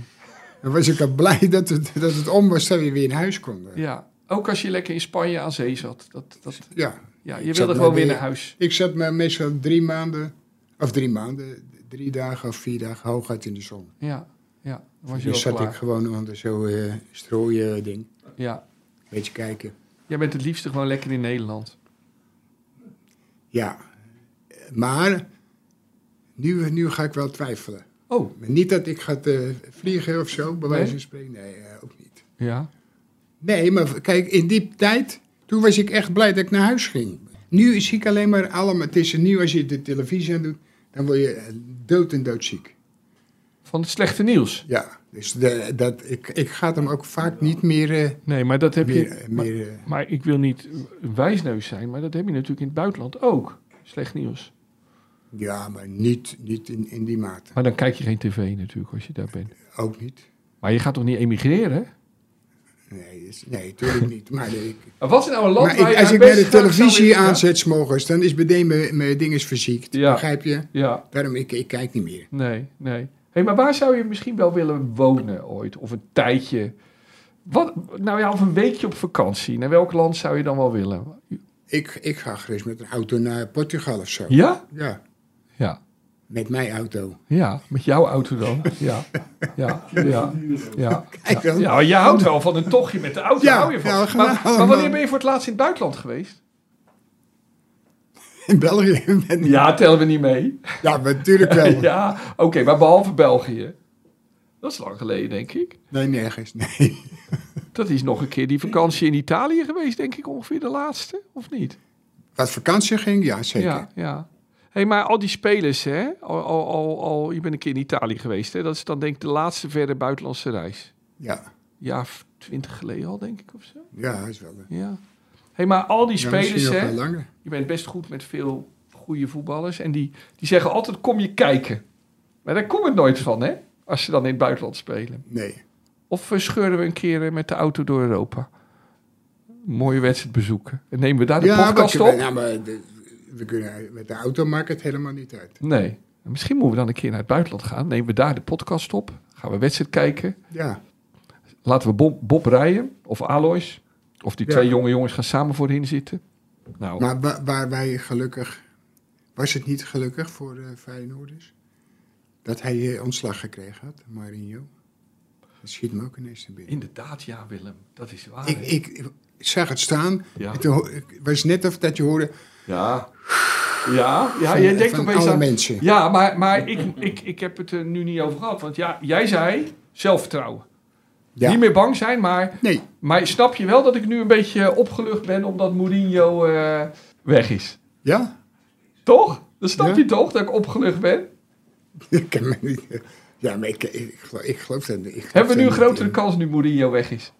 Speaker 5: Dan was ik al blij dat het, dat het om was dat we weer in huis konden.
Speaker 4: Ja. Ook als je lekker in Spanje aan zee zat. Dat, dat,
Speaker 5: Ja,
Speaker 4: ja,
Speaker 5: Ik
Speaker 4: je
Speaker 5: zat
Speaker 4: wilde
Speaker 5: maar
Speaker 4: gewoon weer
Speaker 5: weer-
Speaker 4: naar huis.
Speaker 5: ik zat me meestal drie maanden, of drie maanden, drie dagen of vier dagen hooguit in de zon.
Speaker 4: Ja, ja. Dan was je
Speaker 5: Dus
Speaker 4: wel
Speaker 5: zat ik
Speaker 4: klaar.
Speaker 5: gewoon onder zo'n eh strooien ding,
Speaker 4: Ja.
Speaker 5: een beetje kijken.
Speaker 4: Jij bent het liefste gewoon lekker in Nederland.
Speaker 5: Ja, Eh, maar nu, nu ga ik wel twijfelen.
Speaker 4: Oh,
Speaker 5: Maar niet dat ik ga eh, vliegen of zo, bij wijze
Speaker 4: Nee?
Speaker 5: van spreken. Nee, eh, ook niet.
Speaker 4: ja.
Speaker 5: Nee, maar kijk, in die tijd, toen was ik echt blij dat ik naar huis ging. Nu zie ik alleen maar allemaal, het is nu als je de televisie aan doet, dan word je eh, dood en doodziek.
Speaker 4: Van het slechte nieuws.
Speaker 5: Ja, dus de, dat, ik, ik ga hem ook vaak niet meer... eh,
Speaker 4: Nee, maar dat heb
Speaker 5: meer,
Speaker 4: je...
Speaker 5: eh,
Speaker 4: Maar,
Speaker 5: meer eh,
Speaker 4: maar ik wil niet een wijsneus zijn, maar dat heb je natuurlijk in het buitenland ook. Slecht nieuws.
Speaker 5: ja, maar niet, niet in, in die mate.
Speaker 4: Maar dan kijk je geen tv natuurlijk als je daar bent.
Speaker 5: Ook niet.
Speaker 4: Maar je gaat toch niet emigreren? hè?
Speaker 5: Nee, is, nee natuurlijk niet. Maar, ik,
Speaker 4: Maar Wat is nou een land
Speaker 5: maar
Speaker 4: waar
Speaker 5: ik,
Speaker 4: je
Speaker 5: als
Speaker 4: nou
Speaker 5: ik bij
Speaker 4: best
Speaker 5: de
Speaker 4: graag zou
Speaker 5: televisie
Speaker 4: willen-
Speaker 5: aanzet 's morgens, dan is meteen mijn, mijn ding is verziekt.
Speaker 4: Ja.
Speaker 5: Begrijp je?
Speaker 4: Ja, Ja,
Speaker 5: Daarom, ik, ik kijk niet meer.
Speaker 4: nee, nee. hey, maar waar zou je misschien wel willen wonen ooit? Of een tijdje? Wat, nou ja, of een weekje op vakantie. Naar welk land zou je dan wel willen?
Speaker 5: Ik, ik ga gerust met een auto naar Portugal of zo.
Speaker 4: Ja?
Speaker 5: Ja,
Speaker 4: Ja.
Speaker 5: met mijn auto.
Speaker 4: Ja, met jouw auto dan. Ja, ja, ja. ja.
Speaker 5: Kijk dan.
Speaker 4: Ja, maar je houdt wel van een tochtje met de auto.
Speaker 5: Ja,
Speaker 4: hou je van.
Speaker 5: ja, we gaan
Speaker 4: maar, maar
Speaker 5: allemaal.
Speaker 4: wanneer ben je voor het laatst in het buitenland geweest?
Speaker 5: in België. Met-
Speaker 4: Ja, tellen we niet mee.
Speaker 5: Ja, maar natuurlijk wel.
Speaker 4: Ja, oké, maar behalve België. Dat is lang geleden, denk ik.
Speaker 5: Nee, nergens. Nee.
Speaker 4: Dat is nog een keer die vakantie in Italië geweest, denk ik ongeveer de laatste, of niet?
Speaker 5: Wat vakantie ging, ja zeker.
Speaker 4: Ja, ja. hey, maar al die spelers, hè? Al, al, al, al- je bent een keer in Italië geweest, hè? Dat is dan denk ik de laatste verre buitenlandse reis.
Speaker 5: ja.
Speaker 4: Ja, twintig geleden al, denk ik, of zo.
Speaker 5: Ja, is wel.
Speaker 4: Ja. hey, maar al die
Speaker 5: Ja,
Speaker 4: spelers,
Speaker 5: misschien nog
Speaker 4: hè?
Speaker 5: wel langer.
Speaker 4: Je bent best goed met veel goede voetballers. En die, die zeggen altijd, kom je kijken. Maar daar komt het nooit van, hè? Als ze dan in het buitenland spelen.
Speaker 5: Nee.
Speaker 4: Of eh, scheuren we een keer eh, met de auto door Europa. Een mooie wedstrijd bezoeken. En nemen we daar de
Speaker 5: ja,
Speaker 4: podcast
Speaker 5: maar,
Speaker 4: op?
Speaker 5: ja, maar de- we kunnen met de auto maakt het helemaal niet uit.
Speaker 4: Nee. Misschien moeten we dan een keer naar het buitenland gaan. Nemen we daar de podcast op. Gaan we wedstrijd kijken.
Speaker 5: Ja,
Speaker 4: Laten we Bob, Bob rijden. Of Alois. Of die
Speaker 5: Ja.
Speaker 4: twee jonge jongens gaan samen voorin zitten. Nou,
Speaker 5: maar wa- waar wij gelukkig... Was het niet gelukkig voor eh Feyenoorders? Dat hij eh, ontslag gekregen had, Marinho. Dat schiet me ook ineens te binnen.
Speaker 4: inderdaad, ja Willem. Dat is waar.
Speaker 5: Ik,
Speaker 4: hè?
Speaker 5: ik, ik zag het staan.
Speaker 4: Ja.
Speaker 5: En toen ho- ik- was net of dat je hoorde
Speaker 4: Ja. Ja, ja
Speaker 5: van,
Speaker 4: je denkt
Speaker 5: van
Speaker 4: opeens
Speaker 5: alle
Speaker 4: aan...
Speaker 5: mensen.
Speaker 4: Ja, maar, maar ik, ik, ik heb het er nu niet over gehad. Want ja, jij zei zelfvertrouwen.
Speaker 5: Ja.
Speaker 4: Niet meer bang zijn, maar,
Speaker 5: Nee,
Speaker 4: maar snap je wel dat ik nu een beetje opgelucht ben omdat Mourinho eh, weg is?
Speaker 5: ja?
Speaker 4: Toch? Dat snap
Speaker 5: Ja.
Speaker 4: je toch, dat ik opgelucht ben?
Speaker 5: Ik kan me niet... Ja, maar ik, ik, geloof, ik geloof dat ik geloof
Speaker 4: Hebben we nu een
Speaker 5: daar niet
Speaker 4: grotere
Speaker 5: in.
Speaker 4: kans nu Mourinho weg is?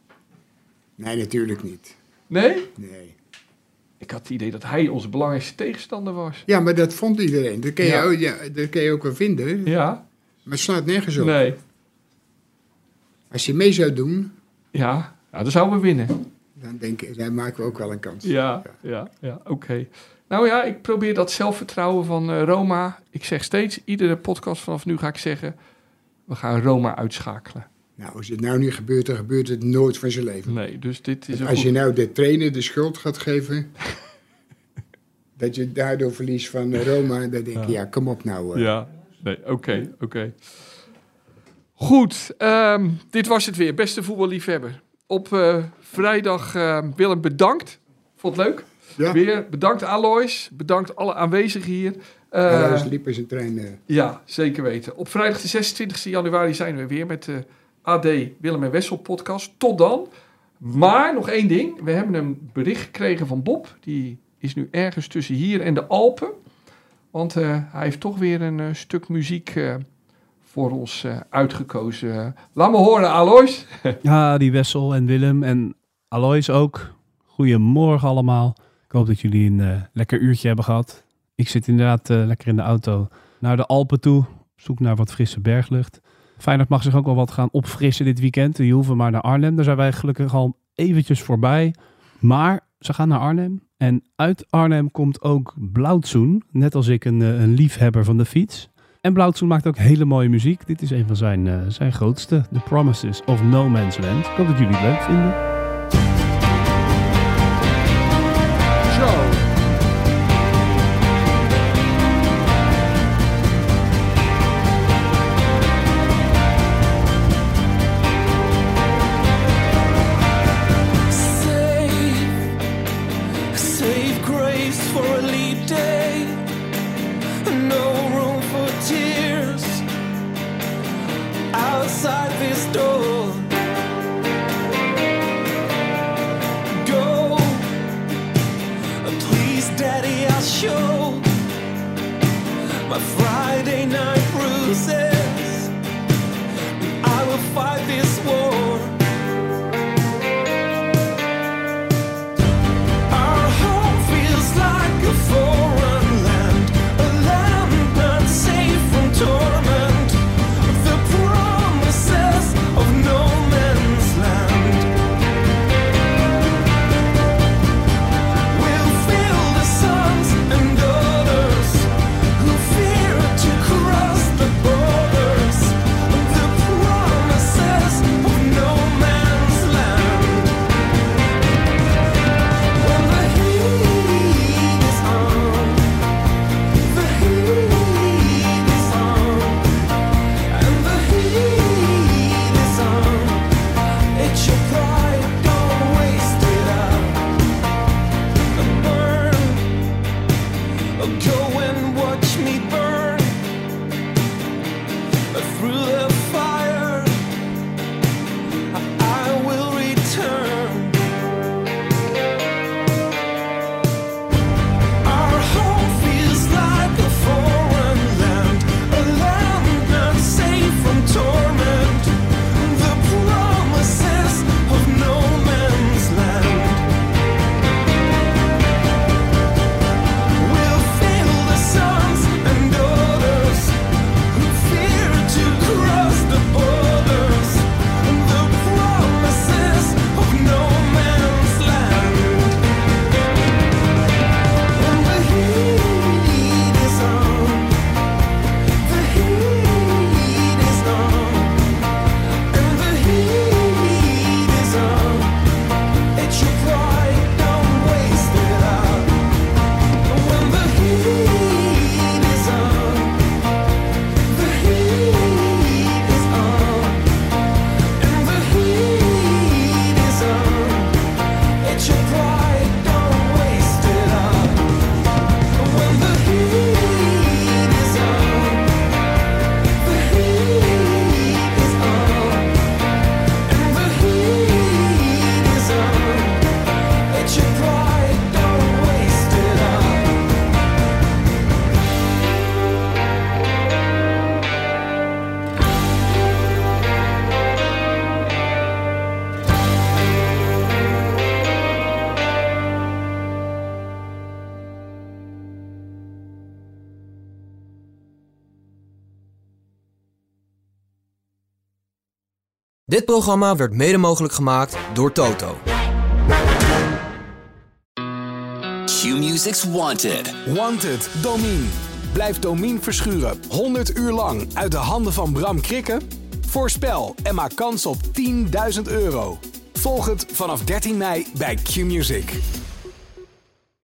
Speaker 5: Nee, natuurlijk niet.
Speaker 4: Nee?
Speaker 5: Nee.
Speaker 4: Ik had het idee dat hij onze belangrijkste tegenstander was.
Speaker 5: Ja, maar dat vond iedereen. Dat kun je,
Speaker 4: Ja.
Speaker 5: ook, ja, dat kun je ook wel vinden.
Speaker 4: Ja?
Speaker 5: Maar het slaat nergens op.
Speaker 4: Nee.
Speaker 5: Als je mee zou doen,
Speaker 4: Ja, ja dan zouden we winnen.
Speaker 5: dan, denk ik, dan maken we ook wel een kans.
Speaker 4: Ja, ja, ja, oké. Nou ja, ik probeer dat zelfvertrouwen van eh, Roma. Ik zeg steeds, iedere podcast vanaf nu ga ik zeggen... we gaan Roma uitschakelen.
Speaker 5: Nou, als het nou niet gebeurt, dan gebeurt het nooit van zijn leven.
Speaker 4: Nee, dus dit is een
Speaker 5: Als
Speaker 4: goed-
Speaker 5: je nou de trainer de schuld gaat geven, dat je daardoor verliest van eh, Roma, dan denk ik, ja, kom op nou. eh.
Speaker 4: Ja, nee, oké, oké. Goed, ehm, dit was het weer. Beste voetballiefhebber. Op eh, vrijdag, ehm, Willem, bedankt. Vond het leuk?
Speaker 5: Ja.
Speaker 4: Weer bedankt Alois. Bedankt alle aanwezigen hier. Eh,
Speaker 5: Ja. Daar liep eens een trein. eh.
Speaker 4: Ja, zeker weten. Op vrijdag de 26 januari zijn we weer met de AD Willem en Wessel podcast. Tot dan. Maar nog één ding. We hebben een bericht gekregen van Bob. Die is nu ergens tussen hier en de Alpen. Want eh, hij heeft toch weer een eh, stuk muziek eh, voor ons eh, uitgekozen. Laat me horen, Alois.
Speaker 9: Ja, die Wessel en Willem en Alois ook. Goedemorgen allemaal. Ik hoop dat jullie een eh, lekker uurtje hebben gehad. Ik zit inderdaad eh, lekker in de auto naar de Alpen toe. Op Zoek naar wat frisse berglucht. Feyenoord mag zich ook wel wat gaan opfrissen dit weekend. Die hoeven maar naar Arnhem. Daar zijn wij gelukkig al eventjes voorbij. Maar ze gaan naar Arnhem. En uit Arnhem komt ook Blauwtsoen. Net als ik een, eh, een liefhebber van de fiets. En Blauwtsoen maakt ook hele mooie muziek. Dit is een van zijn, eh, zijn grootste, The Promises of No Man's Land. Ik hoop dat jullie het leuk vinden.
Speaker 10: Save, save grace for a leap day. No room for tears outside this door. Go, please, Daddy, I'll show my Friday night bruises. I will fight this war. Our home feels like a foreign land, a land not safe from torment. The promises of no man's land will fill the sons and daughters who fear to cross the border.
Speaker 3: Oh, Dit programma werd mede mogelijk gemaakt door Toto.
Speaker 2: Q-Music's Wanted. Wanted, Domine. Blijf Domine verschuren 100 uur lang uit de handen van Bram Krikke? Voorspel en maak kans op 10.000 euro. Volg het vanaf 13 mei bij Q-Music.